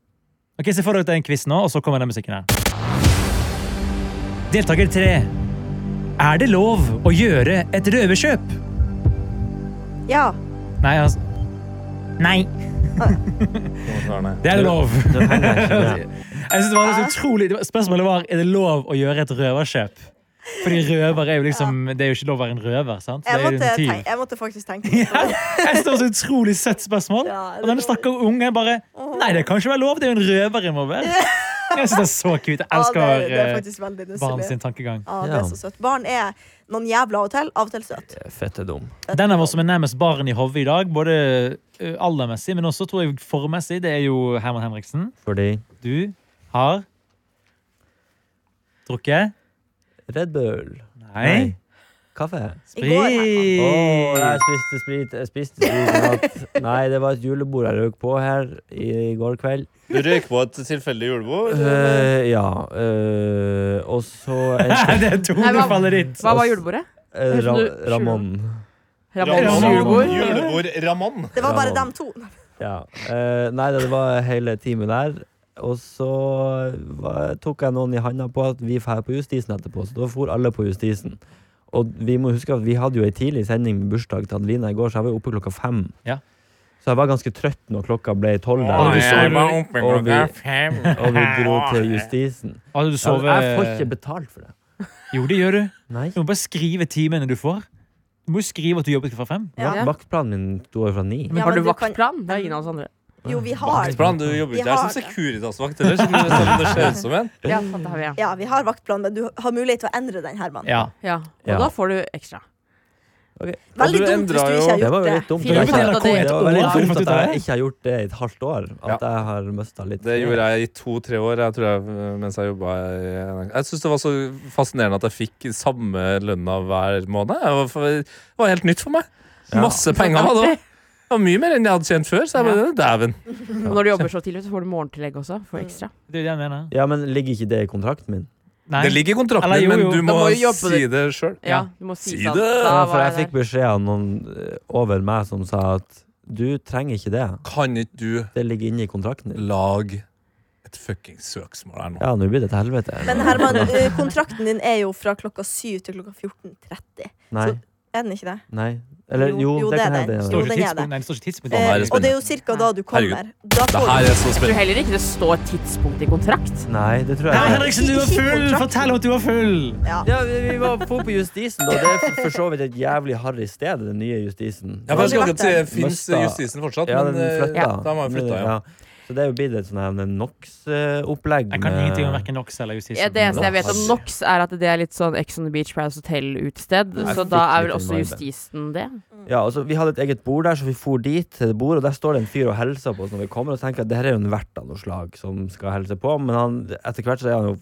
Speaker 4: Ok, Se for dere at det er en quiz nå, og så kommer den musikken her. Deltaker tre. Er det lov å gjøre et røverkjøp?
Speaker 8: Ja.
Speaker 4: Nei, altså Nei, det er lov.
Speaker 9: Det henger ikke med.
Speaker 4: Jeg synes det var så utrolig det var- Spørsmålet var er det lov å gjøre et røverkjøp. Fordi røver er jo liksom Det er jo ikke lov å være en røver. sant? Det
Speaker 8: Jeg
Speaker 4: er jo en
Speaker 8: måtte,
Speaker 4: tyv.
Speaker 8: tenke, jeg måtte faktisk tenke litt på
Speaker 4: Ja,
Speaker 8: det.
Speaker 4: jeg synes det var så utrolig søtt spørsmål.
Speaker 8: Ja, det
Speaker 4: Og denne
Speaker 8: var-
Speaker 4: stakkars unge bare Nei, det kan ikke være lov. Det er jo en røver involvert. Jeg synes det er så kult. Jeg
Speaker 8: Ja, det,
Speaker 4: elsker
Speaker 8: det er
Speaker 4: eh,
Speaker 8: faktisk veldig
Speaker 4: barn sin
Speaker 8: nusselig.
Speaker 4: tankegang.
Speaker 8: Ja, det er så søtt. Barn er noen jævla av og til. Av og til søt.
Speaker 9: Fette dum.
Speaker 4: Den av oss som er nærmest barn i hodet i dag, både ø, aldermessig, men også tror jeg formmessig, det er jo Herman Henriksen.
Speaker 9: Fordi
Speaker 4: Du har Drukket?
Speaker 9: Red Bull
Speaker 4: Nei.
Speaker 9: Kaffe.
Speaker 8: I går,
Speaker 9: Å,
Speaker 4: Sprit. [LAUGHS]
Speaker 9: jeg spiste sprit. Jeg spiste sprit i [LAUGHS] natt. Nei, det var et julebord jeg røk på her i går kveld.
Speaker 2: Du røyk på et tilfeldig julebord?
Speaker 9: Eh, ja. eh, og så
Speaker 4: [LAUGHS]
Speaker 9: endte
Speaker 4: Det er
Speaker 5: Nei, hva-
Speaker 4: tonefallet ditt.
Speaker 5: Hva var julebordet?
Speaker 9: eh, ra
Speaker 5: Skjul-
Speaker 9: Ramon.
Speaker 5: Ramones
Speaker 4: Ramon.
Speaker 5: julebord?
Speaker 2: Julebord Ramon.
Speaker 8: Det var bare
Speaker 9: Ja.
Speaker 8: dem to.
Speaker 9: Ja. eh, nei, det var hele timen der. Og så var, tok jeg noen i handa på at vi drar på Justisen etterpå, så da for alle på Justisen. Og vi må huske at vi hadde jo ei tidlig sending med bursdag til Adelina i går, så jeg var jo oppe klokka fem.
Speaker 4: Ja.
Speaker 9: Så jeg var ganske trøtt når klokka ble tolv der,
Speaker 4: Å,
Speaker 9: og vi,
Speaker 4: ja.
Speaker 9: så,
Speaker 2: var oppe
Speaker 9: Og vi-
Speaker 2: fem.
Speaker 9: og vi dro til Justisen.
Speaker 4: Altså, du
Speaker 9: Jeg,
Speaker 4: sover
Speaker 9: jeg får ikke betalt for det.
Speaker 4: Jo, det gjør du.
Speaker 9: Nei.
Speaker 4: Du må bare skrive timene du får. Du må jo skrive at du jobbet fra fem.
Speaker 8: Ja.
Speaker 5: Ja.
Speaker 9: Vaktplanen min sto jo fra ni.
Speaker 8: Ja,
Speaker 5: har du
Speaker 8: men du kan-
Speaker 5: vaktplan? Det har ingen av oss andre.
Speaker 8: Jo, vi har
Speaker 2: Vaktplan, du jobber jo ikke
Speaker 8: Vi
Speaker 2: her
Speaker 8: har
Speaker 2: som Securitas-vakt heller, som som det ser ut som en.
Speaker 5: Ja, sant, det har vi, ja.
Speaker 8: Ja, vi har vaktplan, men du har mulighet til å endre den, Herman.
Speaker 4: Ja.
Speaker 5: ja. Og
Speaker 9: Ja.
Speaker 5: da får du ekstra.
Speaker 8: Veldig
Speaker 2: Og du
Speaker 8: dumt hvis
Speaker 2: endra
Speaker 8: du
Speaker 2: jo-
Speaker 8: ikke har
Speaker 9: Det
Speaker 8: gjort
Speaker 9: var jo
Speaker 8: det.
Speaker 9: litt dumt.
Speaker 5: Fire
Speaker 9: at jeg
Speaker 5: minutter
Speaker 9: ikke-
Speaker 5: av det.
Speaker 9: det var
Speaker 4: Jeg har
Speaker 9: veldig
Speaker 4: funnet
Speaker 9: dumt
Speaker 4: ut
Speaker 9: at
Speaker 4: av
Speaker 9: jeg
Speaker 4: det.
Speaker 9: ikke har gjort det i et halvt år. At jeg har mista litt eh,
Speaker 2: Det gjorde jeg i to-tre år jeg tror jeg, mens jeg jobba i NRK. Jeg syns det var så fascinerende at jeg fikk samme lønna hver måned. Jeg var, for- det var helt nytt for meg. Masse penger var det. også. Det var mye mer enn jeg hadde tjent før. Så jeg bare, dæven.
Speaker 5: Og når du jobber så tidlig, så får du morgentillegg også. For
Speaker 8: Mm.
Speaker 5: ekstra.
Speaker 4: Det er det jeg mener.
Speaker 9: Ja, men ligger ikke det i kontrakten min?
Speaker 4: Nei.
Speaker 2: Det ligger i kontrakten,
Speaker 4: Eller jo,
Speaker 2: men
Speaker 4: jo.
Speaker 2: du
Speaker 4: Da
Speaker 2: må,
Speaker 5: må du jobbe
Speaker 2: si det sjøl.
Speaker 5: Ja, du må si,
Speaker 2: Si
Speaker 5: sånn,
Speaker 2: det!
Speaker 5: Da
Speaker 9: Ja, for
Speaker 5: var
Speaker 9: jeg
Speaker 5: jeg
Speaker 9: fikk
Speaker 5: der.
Speaker 9: beskjed av noen eh, over meg som sa at du trenger ikke det.
Speaker 2: Kan ikke du
Speaker 9: Det ligger inne i kontrakten din.
Speaker 2: lage et fuckings søksmål her nå?
Speaker 9: Ja, nå blir det et helvete.
Speaker 8: Men Herman, eh, kontrakten din er jo fra klokka 7 til klokka 14.30.
Speaker 9: Nei.
Speaker 8: Er den ikke det?
Speaker 9: Nei. Eller
Speaker 8: Jo,
Speaker 9: jo,
Speaker 8: jo,
Speaker 9: det
Speaker 8: det er
Speaker 9: kan
Speaker 8: den.
Speaker 9: hende. det er
Speaker 4: står
Speaker 8: Jo,
Speaker 9: det.
Speaker 4: ikke
Speaker 8: den
Speaker 4: tidspunkt- Nei,
Speaker 8: er det.
Speaker 4: det står ikke tidspunkt.
Speaker 8: Eh,
Speaker 2: er det
Speaker 8: og det er jo ca. da du kommer. Da
Speaker 2: Det her er så
Speaker 8: får du
Speaker 5: Jeg tror
Speaker 2: spennende.
Speaker 5: heller ikke det står tidspunkt i kontrakt.
Speaker 9: Nei, det tror
Speaker 4: Nei,
Speaker 9: jeg ikke.
Speaker 4: Henriksen, du er full! Fortell at du er full!
Speaker 8: ja.
Speaker 9: Ja, vi, vi var på på Justisen, og det er for- for så vidt et jævlig harry sted, den nye Justisen.
Speaker 2: Ja, for jeg skal akkurat si, Fins
Speaker 9: Møsta-
Speaker 2: justisen fortsatt?
Speaker 9: Ja,
Speaker 2: men,
Speaker 9: den
Speaker 2: eh,
Speaker 9: flytta.
Speaker 2: Da må jeg flytte, ja.
Speaker 9: Så det er jo blitt et sånn NOx-opplegg.
Speaker 4: Jeg kan ingenting om verken Nox eller justisen.
Speaker 5: Ja, det eneste jeg vet om
Speaker 9: Ass.
Speaker 5: NOx, er at det er litt sånn Ex on the Beach Paradise Hotel-utested.
Speaker 9: Nei,
Speaker 5: Så
Speaker 9: fikk
Speaker 5: da er vel
Speaker 9: litt den viben.
Speaker 5: også justisen det.
Speaker 9: Ja, altså, vi hadde et eget bord der, så vi for dit til det bordet, og der står det en fyr og hilser på oss når vi kommer, og så tenker jeg at det her er jo en vert av noe slag som skal hilse på, men han, etter hvert så er han jo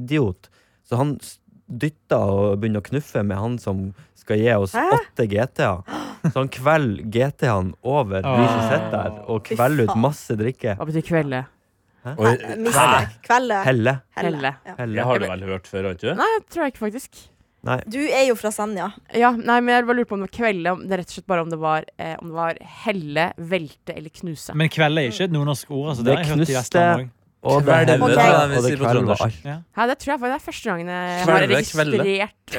Speaker 9: idiot. Så han s- dytter og begynner å knuffe med han som skal gi oss åtte GTA. Så han kvelder GTA-en over vi som
Speaker 4: Ah.
Speaker 9: sitter der, og
Speaker 8: Fy
Speaker 9: kvelder ut
Speaker 8: faen.
Speaker 9: masse drikke.
Speaker 5: Hva betyr kvelde?
Speaker 2: Og
Speaker 8: Miste kvelde.
Speaker 9: Helle.
Speaker 5: Helle.
Speaker 8: Ja.
Speaker 2: det
Speaker 9: Helle.
Speaker 2: har du vel hørt før, har ikke du?
Speaker 5: Nei, jeg tror jeg ikke, faktisk.
Speaker 8: Du er jo fra Senja.
Speaker 5: Ja, nei, men jeg bare lurte på om det var kvelde. Om det er rett og slett bare om det var, eh, om det var helle, velte eller knuse.
Speaker 4: Men kveld er ikke et nordnorsk ord. Altså, det
Speaker 9: Det
Speaker 4: har jeg hørt i
Speaker 9: knuste-
Speaker 4: Vestland òg.
Speaker 9: Og
Speaker 2: Kvelde,
Speaker 9: det helle,
Speaker 8: det er
Speaker 2: det vi
Speaker 9: og det
Speaker 2: sånn sier på
Speaker 9: kveld
Speaker 2: trøndersk.
Speaker 9: var alt.
Speaker 5: Ja, det tror jeg faktisk det er første gangen jeg har
Speaker 2: Kvelde, kvelde.
Speaker 5: registrert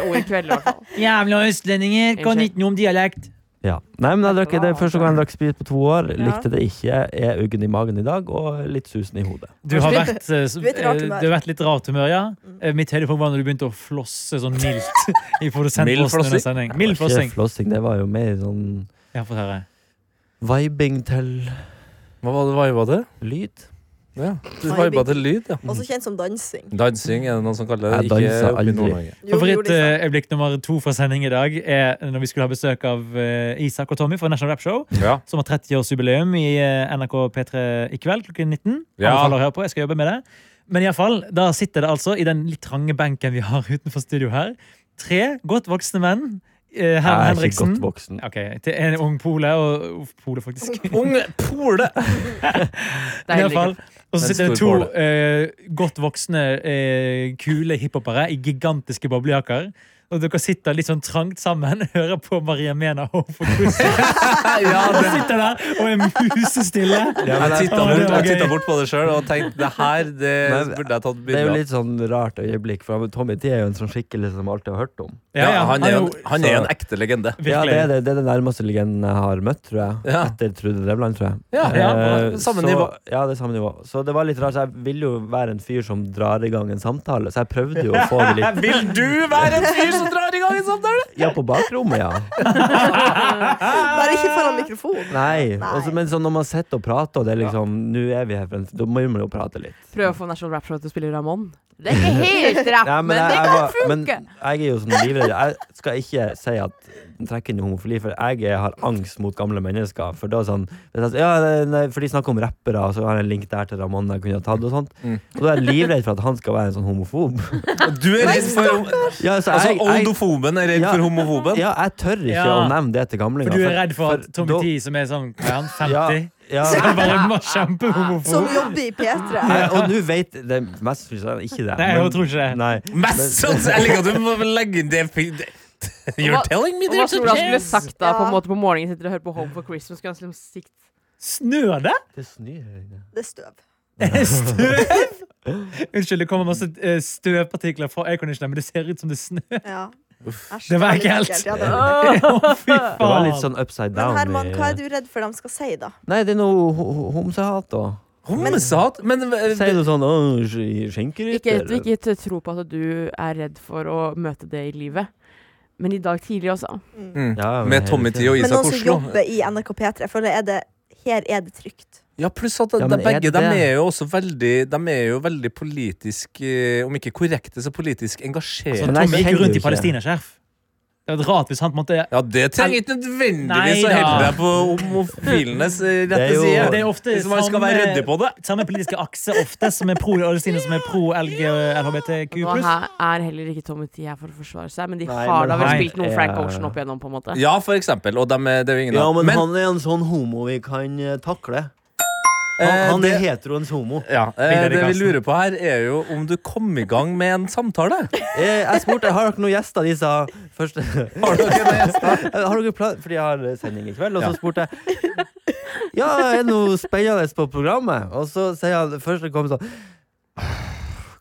Speaker 5: ordet kvelde. i hvert fall.
Speaker 4: Jævla østlendinger
Speaker 5: kan Unnskyld. ikke
Speaker 4: noe om dialekt.
Speaker 9: Ja. Nei, men jeg drakk det er første gang jeg drakk sprit på to år.
Speaker 8: Ja.
Speaker 9: Likte det ikke. Jeg Er uggen i magen i dag og litt susen i hodet.
Speaker 4: Du har vært, eh, s-
Speaker 8: Du er i et rart
Speaker 4: eh,
Speaker 8: humør. Mm.
Speaker 4: du har vært litt rart humør, ja. Eh, Mitt høydepunkt var når du begynte å flosse sånn
Speaker 8: [LAUGHS]
Speaker 4: mildt i
Speaker 2: Mild
Speaker 4: produsentposten under
Speaker 2: flossing?
Speaker 4: sending. Mild flossing.
Speaker 9: Ikke flossing, det var jo mer sånn
Speaker 4: Ja, få høre.
Speaker 9: vibing til
Speaker 2: Hva var det viba til?
Speaker 9: lyd.
Speaker 2: Ja. Du
Speaker 8: Vibing.
Speaker 2: viba til lyd, ja.
Speaker 8: Også kjent som dansing.
Speaker 2: Dansing er det noen som kaller det.
Speaker 9: Jeg
Speaker 2: Ikke
Speaker 9: danser
Speaker 2: oppe i
Speaker 9: aldri.
Speaker 2: Nord-Norge.
Speaker 8: Jo, vi gjorde det i
Speaker 4: Favorittøyeblikk eh, nummer to fra sending i dag er når vi skulle ha besøk av eh, Isak og Tommy fra National Rap Show,
Speaker 2: Ja.
Speaker 4: som har 30-årsjubileum i eh, NRK P3 i kveld klokken 19.
Speaker 2: Ja.
Speaker 4: Anbefaler å høre på, jeg skal jobbe med det. Men i alle fall, da sitter det altså i den litt trange benken vi har [LAUGHS] utenfor studio her, tre godt voksne menn. Eh, Herman
Speaker 9: Jeg er ikke
Speaker 4: Henriksen.
Speaker 9: godt voksen.
Speaker 4: Ok, til en ung pole og uff, pole, faktisk.
Speaker 2: Ung
Speaker 9: [LAUGHS]
Speaker 2: pole!
Speaker 5: Det er
Speaker 4: I
Speaker 5: heller
Speaker 4: alle fall.
Speaker 5: ikke-
Speaker 4: Og så
Speaker 2: Men
Speaker 4: sitter det
Speaker 2: stor
Speaker 4: to
Speaker 2: pole.
Speaker 4: eh, godt voksne, eh, kule hiphopere i gigantiske boblejakker. Og dere sitter litt sånn trangt sammen, [LAUGHS] hører på Maria Mena og for kusser. Og sitter der og er musestille.
Speaker 2: Jeg titta
Speaker 4: Å, det
Speaker 2: bort,
Speaker 4: var
Speaker 2: jeg
Speaker 4: gøy.
Speaker 2: tittet bort på det sjøl og tenkte det her det
Speaker 9: Nei,
Speaker 2: burde jeg tatt
Speaker 9: Det er
Speaker 2: bilde
Speaker 9: jo
Speaker 2: av.
Speaker 9: litt sånn rart øyeblikk, for han- Tommy T er jo en sånn skikkelse som alltid har hørt om.
Speaker 2: Ja, han, er jo,
Speaker 4: jo-
Speaker 2: han er
Speaker 9: så-
Speaker 2: en ekte legende.
Speaker 9: Ja,
Speaker 4: Virkelig.
Speaker 9: det er det, det er den nærmeste legenden jeg har møtt, tror jeg.
Speaker 2: Ja.
Speaker 9: Etter Trude Drevland, tror jeg.
Speaker 2: Ja,
Speaker 9: Eh,
Speaker 2: på samme
Speaker 9: så,
Speaker 2: nivå.
Speaker 9: Ja, det er samme nivå. Så det var litt rart. Så jeg ville jo være en fyr som drar i gang en samtale, så jeg prøvde jo å få
Speaker 2: [LAUGHS]
Speaker 9: det litt
Speaker 2: Vil du være en fyr som drar i gang en samtale?
Speaker 9: Ja, på bakrommet,
Speaker 2: [LAUGHS]
Speaker 9: ja. eh,
Speaker 8: dag. Bare ikke foran mikrofon.
Speaker 9: Nei.
Speaker 8: Nei.
Speaker 9: Også, men sånn når man sitter og prater, og det er liksom Nå er vi her, for en, da må man jo prate litt.
Speaker 5: Prøve å få National Rap Show til å spille Ramón. Det er ikke helt rapp,
Speaker 9: Ja,
Speaker 5: men, det
Speaker 9: jeg,
Speaker 5: kan
Speaker 9: var- men
Speaker 5: funke!
Speaker 9: jeg er jo sånn livredd. Jeg skal ikke si at trekke inn homofili, for jeg er- har angst mot gamle mennesker. For da sånn hvis jeg, ja, nei, For de snakker om rappere, og så har jeg en link der til Ramón jeg kunne ha tatt, og sånt.
Speaker 4: Mm.
Speaker 9: Og da er jeg livredd for at han skal være en sånn
Speaker 4: [LAUGHS]
Speaker 9: homofob.
Speaker 2: Du er redd for
Speaker 9: Ja, så
Speaker 2: Altså,
Speaker 9: jeg, jeg,
Speaker 2: Oldofoben er redd
Speaker 9: Ja.
Speaker 2: for homofoben?
Speaker 9: ja, jeg tør ikke
Speaker 4: Ja.
Speaker 9: å nevne det til gamlinger.
Speaker 4: For du
Speaker 2: altså.
Speaker 4: er redd for at Tommy
Speaker 9: da-
Speaker 4: T, som er sånn hva er han, 50, [LAUGHS]
Speaker 9: Ja,
Speaker 4: Så
Speaker 9: ja,
Speaker 4: er bare en kjempehomofob.
Speaker 2: Sånn-
Speaker 8: Som jobber i P3.
Speaker 9: Nei, og nå vet det, Mest sannsynlig er han ikke det.
Speaker 4: Nei, jeg
Speaker 9: men-
Speaker 4: tror ikke det.
Speaker 9: Nei.
Speaker 2: Mest sannsynlig! Jeg liker at du må legge inn det You're
Speaker 5: Hva-
Speaker 2: telling me
Speaker 5: Og hva
Speaker 2: there's a
Speaker 5: tror du han skulle
Speaker 2: chance!
Speaker 5: sagt da på en
Speaker 8: Ja.
Speaker 5: måte på morgenen sitter og hører på Home for Christmas? Skulle han liksom sikt
Speaker 2: [LAUGHS]
Speaker 4: Snør det?
Speaker 9: Det snør her inne.
Speaker 8: Det er støv.
Speaker 4: Støv? Unnskyld, det kommer masse eh, støvpartikler fra Jeg kan ikke det, men det ser ut som det
Speaker 8: [LAUGHS]
Speaker 4: snør.
Speaker 8: Ja. Æsj,
Speaker 4: Det var
Speaker 8: litt
Speaker 4: ekkelt.
Speaker 8: ekkelt, ja, det var litt ekkelt.
Speaker 4: Å, Fy faen.
Speaker 9: Det var litt sånn upside down.
Speaker 8: Men Herman,
Speaker 9: i-
Speaker 8: hva er du redd for de skal si, da?
Speaker 9: Nei, det er noe ho- ho- homsehat, da.
Speaker 2: Homsehat? Men
Speaker 9: Sier
Speaker 2: eh,
Speaker 9: du sånn «Åh,
Speaker 5: Ikke,
Speaker 9: sk- skinkerytter?
Speaker 5: ikke t- tro på at du er redd for å møte det i livet. Men i dag tidlig også.
Speaker 9: Ja, men
Speaker 2: med Tommy
Speaker 9: hele
Speaker 2: T og
Speaker 8: Men
Speaker 2: Isak
Speaker 8: noen som
Speaker 2: Oslo
Speaker 8: jobber i NRK P3, jeg føler er det her er det trygt.
Speaker 2: Ja, pluss at
Speaker 9: Ja,
Speaker 2: de,
Speaker 9: men er
Speaker 2: begge
Speaker 9: det-
Speaker 2: de er jo også veldig De er jo veldig politisk eh, Om ikke korrekte, så politisk engasjert.
Speaker 4: Så
Speaker 9: Men jeg
Speaker 4: Tommy gikk
Speaker 9: kjenner
Speaker 4: jo rundt i
Speaker 9: jo ikke.
Speaker 4: palestinaskjerf. Det hadde vært rart hvis han på en måte
Speaker 2: Ja, det trenger ikke nødvendigvis
Speaker 4: Nei
Speaker 2: å
Speaker 4: da.
Speaker 2: helle deg på homofilenes eh,
Speaker 9: Det
Speaker 2: rette
Speaker 9: er jo-
Speaker 2: side.
Speaker 4: Det er ofte
Speaker 2: Hvis man skal
Speaker 4: samme-
Speaker 2: være ryddig på det.
Speaker 4: Samme politiske akse ofte, som er pro Palestina, som er pro LGBTQ+.
Speaker 5: Nå her er heller ikke Tommy Tee her for å forsvare seg, men de
Speaker 9: Nei,
Speaker 5: har
Speaker 9: men
Speaker 5: da vel
Speaker 4: han
Speaker 5: spilt noen Frank
Speaker 9: er-
Speaker 5: Ocean opp igjennom, på en måte.
Speaker 2: Ja, for eksempel. Og dem er- det er jo ingen
Speaker 9: Ja,
Speaker 2: av.
Speaker 9: men, han er en sånn homo vi kan eh, takle. Han,
Speaker 2: eh,
Speaker 9: han er
Speaker 2: det-
Speaker 9: heteroens homo.
Speaker 2: ja, eh,
Speaker 4: Vidar
Speaker 2: det vi
Speaker 4: Karlsen.
Speaker 2: lurer på her, er jo om du kom i gang med en samtale.
Speaker 9: Eh, Jeg spurte har dere noen gjester. De sa
Speaker 2: [LAUGHS]
Speaker 9: først Eh,
Speaker 2: Har dere noen gjester?
Speaker 9: [LAUGHS] Har dere plan Fordi jeg har sending i kveld. Og så spurte jeg Ja, er det noe spennende på programmet. Og så sier han først det kom sånn [SIGHS]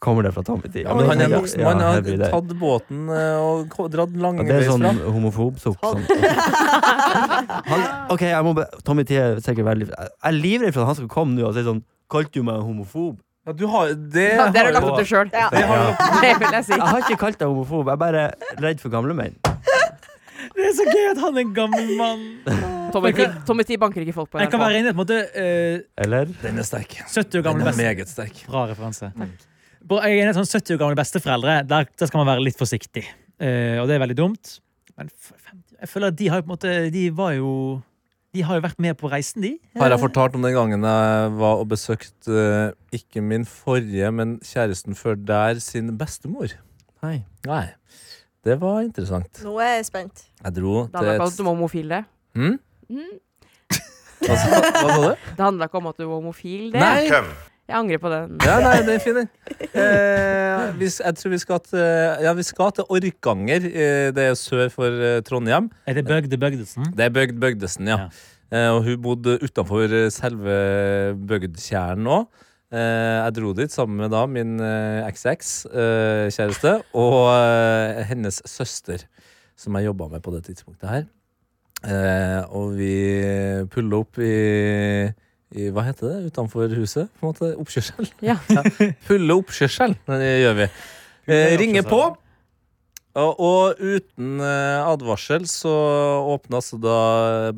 Speaker 9: Kommer det fra Tommy Tee?
Speaker 2: Ja, men han er en voksen mann.
Speaker 9: Ja,
Speaker 2: Har
Speaker 9: jeg bryr deg.
Speaker 2: tatt båten eh, og ko- dratt
Speaker 9: Ja, det er sånn
Speaker 2: langveisfra.
Speaker 9: homofobsukk. Sånn. [LAUGHS] Han, ok, jeg må be Tommy Tee er sikkert veldig Jeg er livredd for at han skal komme nå og si sånn Kalte du meg homofob?
Speaker 2: Ja, du har det,
Speaker 5: Ja, [LAUGHS] det
Speaker 2: har
Speaker 5: har du lagt
Speaker 2: jo-
Speaker 5: opp til sjøl.
Speaker 8: Ja.
Speaker 2: det har du
Speaker 5: [LAUGHS] Det vil jeg si.
Speaker 9: Jeg har ikke kalt deg homofob, jeg er bare redd for gamle menn.
Speaker 4: Det er så gøy at han er en gammel mann.
Speaker 5: Tommy Tee- Tommy Tee banker ikke folk på
Speaker 4: Jeg kan være
Speaker 5: NRK.
Speaker 4: inne i et måte eh,
Speaker 9: Eller?
Speaker 2: Den er sterk.
Speaker 4: 70 år
Speaker 2: Den
Speaker 4: gammel
Speaker 2: er
Speaker 4: beste.
Speaker 2: meget sterk.
Speaker 4: Bra referanse. Bra- Jeg er enig i at sånn 70 år gamle besteforeldre. Der, der skal man være litt forsiktig. Eh, og det er veldig dumt. Men f- 50 jeg føler at de har jo på en måte De var jo De har jo vært med på reisen, de.
Speaker 2: Har jeg fortalt om den gangen jeg var og besøkte eh, ikke min forrige, men kjæresten før der sin bestemor?
Speaker 9: Nei.
Speaker 2: Nei. Det var interessant.
Speaker 8: Nå er jeg spent.
Speaker 2: Jeg dro
Speaker 5: Det
Speaker 2: til
Speaker 5: handla
Speaker 2: et
Speaker 5: ikke om at du var homofil, det.
Speaker 2: Hm?
Speaker 5: Mm.
Speaker 2: Hva sa hva sa du?
Speaker 5: Det handla ikke om at du var homofil, det.
Speaker 2: Nei!
Speaker 3: Come.
Speaker 5: Jeg angrer på den.
Speaker 2: Ja, nei, det er fin, den. Eh, vi s- jeg tror vi skal til, ja, vi skal til Orkanger. Eh, det er sør for eh, Trondheim.
Speaker 4: Er det Bøgde Bøgdesen?
Speaker 2: Det er Bøgd Bøgdesen, ja.
Speaker 4: Mhm. Ja.
Speaker 2: Eh, og hun bodde utenfor eh, selve Bøgdkjernen òg. Eh, jeg dro dit sammen med da min eh, XX-kjæreste og eh, hennes søster, som jeg jobba med på det tidspunktet her. Eh, og vi pulla opp i, i Hva heter det utenfor huset? På en måte Oppkjørsel?
Speaker 5: Ja.
Speaker 2: Pulle oppkjørsel, det gjør vi. Eh, ringer på. Og, og uten eh, advarsel så åpna altså da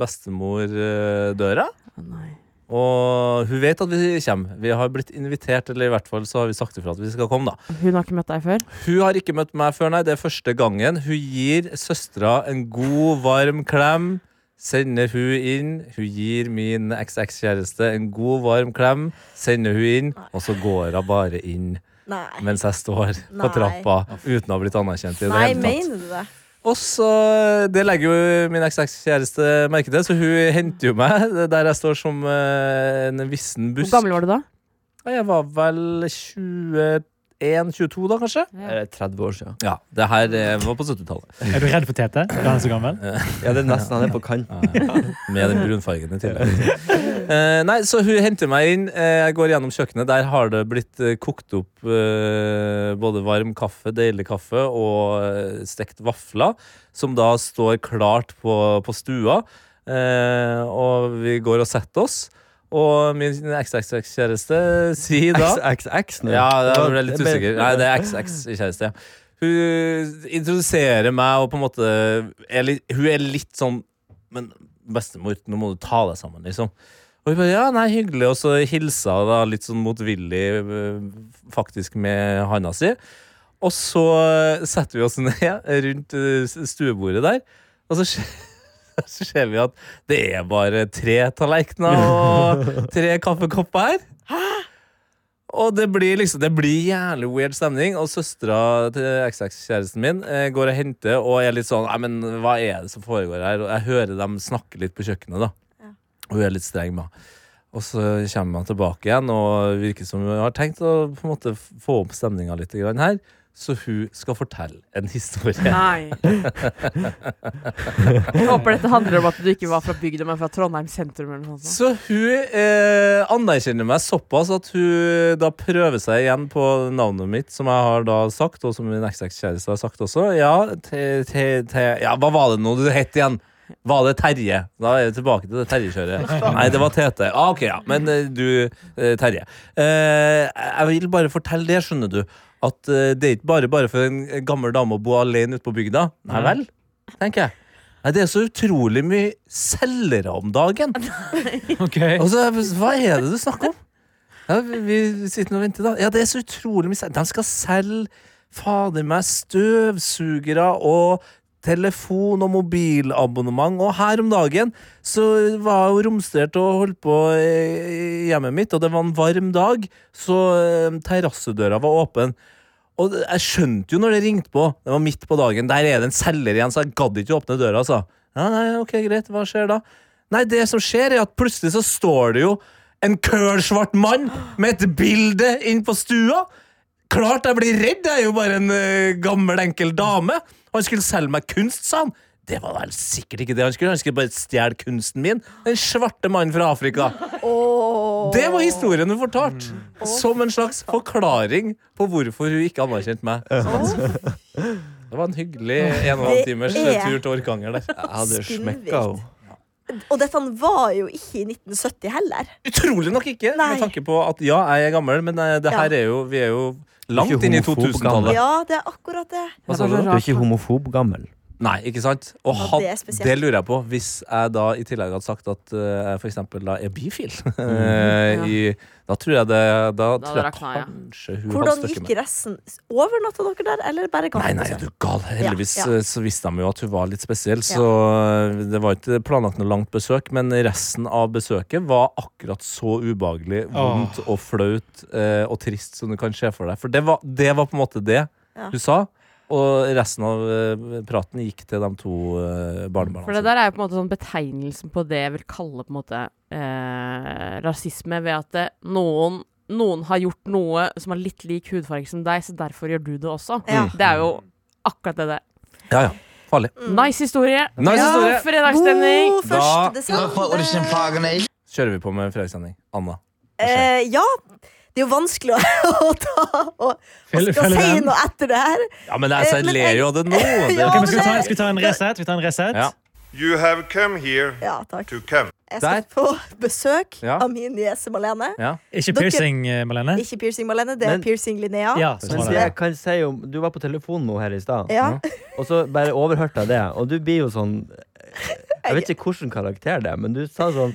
Speaker 2: bestemor eh, døra.
Speaker 5: Å, Nei.
Speaker 2: Og hun vet at vi kommer. Vi har blitt invitert, eller i hvert fall så har vi sagt ifra at vi skal komme, da.
Speaker 5: Hun har ikke møtt deg før?
Speaker 2: Hun har ikke møtt meg før, nei. Det er første gangen. Hun gir søstera en god, varm klem. Sender hun inn. Hun gir min XX-kjæreste en god, varm klem. Sender hun inn, og så går hun bare inn
Speaker 8: Nei,
Speaker 2: mens jeg står på
Speaker 8: Nei.
Speaker 2: trappa uten å ha blitt anerkjent i det
Speaker 8: Nei
Speaker 2: hele tatt.
Speaker 8: mener du det?
Speaker 2: Og så, Det legger jo min XX-kjæreste merke til, så hun henter jo meg der jeg står som eh, en vissen
Speaker 5: Hvor
Speaker 2: busk.
Speaker 5: gammel var du da?
Speaker 2: Ja, Jeg var vel 21-22 da, kanskje?
Speaker 9: Er det 30 år siden?
Speaker 2: Ja, det her eh, var på 70-tallet.
Speaker 4: Er du redd for Tete? Er han så gammel?
Speaker 9: Ja, det er nesten han er på kanten.
Speaker 2: Med den brunfargen i tillegg. Eh, nei, så hun henter meg inn. eh, jeg går gjennom kjøkkenet. Der har det blitt eh, kokt opp eh, både varm kaffe, deilig kaffe, og eh, stekt vafler, som da står klart på, på stua. Eh, og vi går og setter oss. Og min XXX-kjæreste sier da
Speaker 9: XXX nå?
Speaker 2: Ja, jeg ble litt usikker. Nei, det er XX-kjæreste. ja. Hun introduserer meg og på en måte er litt, Hun er litt sånn Men bestemor, nå må du ta deg sammen, liksom. Og hun bare, ja, nei, hyggelig Og så hilsa hun da litt sånn motvillig, eh, faktisk, med handa si. Og så setter vi oss ned rundt eh, stuebordet der, og så skjer [LAUGHS] så ser vi at det er bare tre tallerkener og tre kaffekopper her. Og det blir liksom, det blir jævlig weird stemning. Og søstera til XX-kjæresten min eh, går og henter og er litt sånn Nei, men hva er det som foregår her? Og jeg hører dem snakke litt på kjøkkenet, da. Og hun er litt streng med henne. Og så kommer man tilbake igjen, og virker som hun har tenkt å på en måte få opp stemninga litt grann her. Så hun skal fortelle en historie.
Speaker 5: Nei. Jeg håper dette handler om at du ikke var fra bygda, men fra Trondheim sentrum. eller noe sånt.
Speaker 2: Så hun eh, anerkjenner meg såpass at hun eh, da prøver seg igjen på navnet mitt, som jeg har da sagt, og som min XX-kjæreste har sagt også. Ja, te, te, te, ja, hva var det nå du het igjen? Var det Terje? Da er vi tilbake til det Terje-kjøret. Nei, det var Tete. Ah, ok, ja. Men eh, du, eh, Terje. Eh, jeg vil bare fortelle det, skjønner du, at eh, det er ikke bare bare for en gammel dame å bo alene ute på bygda. Nei vel, tenker jeg. Nei, det er så utrolig mye selgere om dagen.
Speaker 4: [LAUGHS] Ok.
Speaker 2: Altså, hva er det du snakker om? Ja, vi- vi sitter nå og venter, da. Ja, det er så utrolig mye selgere. De skal selge fader meg støvsugere og telefon og mobilabonnement. Og her om dagen så var jeg jo romstert og holdt på eh, hjemmet mitt, og det var en varm dag, så eh, terrassedøra var åpen. Og det- jeg skjønte jo når det ringte på, det var midt på dagen, der er det en selger igjen, så jeg gadd ikke å åpne døra, altså. Ja, nei, ok, greit, hva skjer da? Nei, det som skjer er at plutselig så står det jo en kølsvart mann med et bilde inn på stua. Klart jeg blir redd, jeg er jo bare en eh, gammel, enkel dame. Han skulle selge meg kunst, sa han. Det var vel sikkert ikke det han skulle, han skulle bare stjele kunsten min. Den svarte mannen fra Afrika. Det var historien hun fortalte.
Speaker 8: Mm.
Speaker 2: Som en slags forklaring på hvorfor hun ikke anerkjente meg. Sånn. Det var en hyggelig en og en halv
Speaker 8: Det
Speaker 2: timers eh,
Speaker 8: er-
Speaker 2: tur til Orkanger der.
Speaker 9: Jeg hadde
Speaker 8: Spinnvilt.
Speaker 9: smekka henne.
Speaker 8: Og dette var jo ikke i 1970 heller.
Speaker 2: Utrolig nok ikke,
Speaker 8: Nei.
Speaker 2: med tanke på at ja, jeg er gammel, men eh, det
Speaker 8: Ja.
Speaker 2: her er jo, vi er jo langt
Speaker 9: Ikke
Speaker 2: inn i
Speaker 9: homofob
Speaker 2: 2000-tallet.
Speaker 9: gammel.
Speaker 8: Ja, det er akkurat det.
Speaker 9: Hva
Speaker 5: Det
Speaker 9: sa
Speaker 5: var
Speaker 9: du?
Speaker 5: så
Speaker 9: Du er
Speaker 5: rart,
Speaker 9: ikke
Speaker 5: da.
Speaker 9: homofob gammel.
Speaker 2: Nei, ikke sant? Og
Speaker 8: Ja,
Speaker 2: had,
Speaker 8: det er
Speaker 2: det,
Speaker 8: spesielt.
Speaker 2: lurer jeg på. Hvis jeg da i tillegg hadde sagt at eh, jeg for eksempel da er bifil, [LAUGHS]
Speaker 5: Mhm.
Speaker 2: eh,
Speaker 5: Ja.
Speaker 2: i, da tror jeg det Da,
Speaker 5: Da
Speaker 2: tror jeg
Speaker 5: rakna jeg.
Speaker 2: kanskje hun hadde
Speaker 8: Hvordan
Speaker 2: støkket meg.
Speaker 8: gikk resten? Overnatta dere der, eller bare gang?
Speaker 2: Nei, nei, er du gal. Heldigvis
Speaker 8: Ja, ja.
Speaker 2: eh, så visste de jo at hun var litt spesiell, så eh, det var ikke planlagt noe langt besøk. Men resten av besøket var akkurat så ubehagelig, vondt og flaut eh, og trist som du kan se for deg. For det var, det var på en måte det
Speaker 8: Ja.
Speaker 2: du sa. Og resten av eh, praten gikk til de to eh, barnebarna.
Speaker 5: For det der er jo på en måte sånn betegnelsen på det jeg vil kalle på en måte eh, rasisme, ved at det, noen, noen har gjort noe som er litt lik hudfarge som deg, så derfor gjør du det også.
Speaker 8: Ja.
Speaker 9: Mm.
Speaker 5: Det er jo akkurat det det er.
Speaker 2: Ja, ja. Farlig.
Speaker 5: Nice historie!
Speaker 2: Nice historie.
Speaker 5: God fredagsstemning!
Speaker 8: Mm. God
Speaker 2: Da-
Speaker 8: første desember.
Speaker 2: Kjører vi på med fredagssending. Anna.
Speaker 8: Eh, ja. Det er jo vanskelig å, å [LAUGHS] ta og, og
Speaker 4: Følg-
Speaker 8: skal
Speaker 4: følg
Speaker 8: si
Speaker 4: den.
Speaker 8: noe etter det her.
Speaker 2: Ja, men altså,
Speaker 8: Eh,
Speaker 2: jeg
Speaker 8: men
Speaker 2: ler
Speaker 8: jeg-
Speaker 2: jo av
Speaker 8: [LAUGHS]
Speaker 2: det nå. Det,
Speaker 8: Ja,
Speaker 4: Ok,
Speaker 8: men
Speaker 4: men skal, vi ta,
Speaker 8: det-
Speaker 4: skal vi ta en reset? Skal vi ta en reset?
Speaker 2: Ja.
Speaker 3: You have come here
Speaker 8: Ja, takk.
Speaker 3: to come.
Speaker 8: Jeg skal
Speaker 2: Der.
Speaker 8: på besøk
Speaker 2: Ja.
Speaker 8: av min niese Malene.
Speaker 4: Ikke
Speaker 8: Dere-
Speaker 4: piercing, eh, Malene?
Speaker 8: Ikke piercing Malene, det er
Speaker 9: Men-
Speaker 8: piercing Linnea.
Speaker 4: Ja, sånn
Speaker 9: Men
Speaker 4: var
Speaker 9: det
Speaker 4: det.
Speaker 9: jeg kan si om Du var på telefonen med henne her i stad,
Speaker 2: Mm.
Speaker 8: Ja.
Speaker 9: og så bare overhørte jeg det. Og du blir jo sånn Jeg vet ikke hvilken karakter det er, men du sa sånn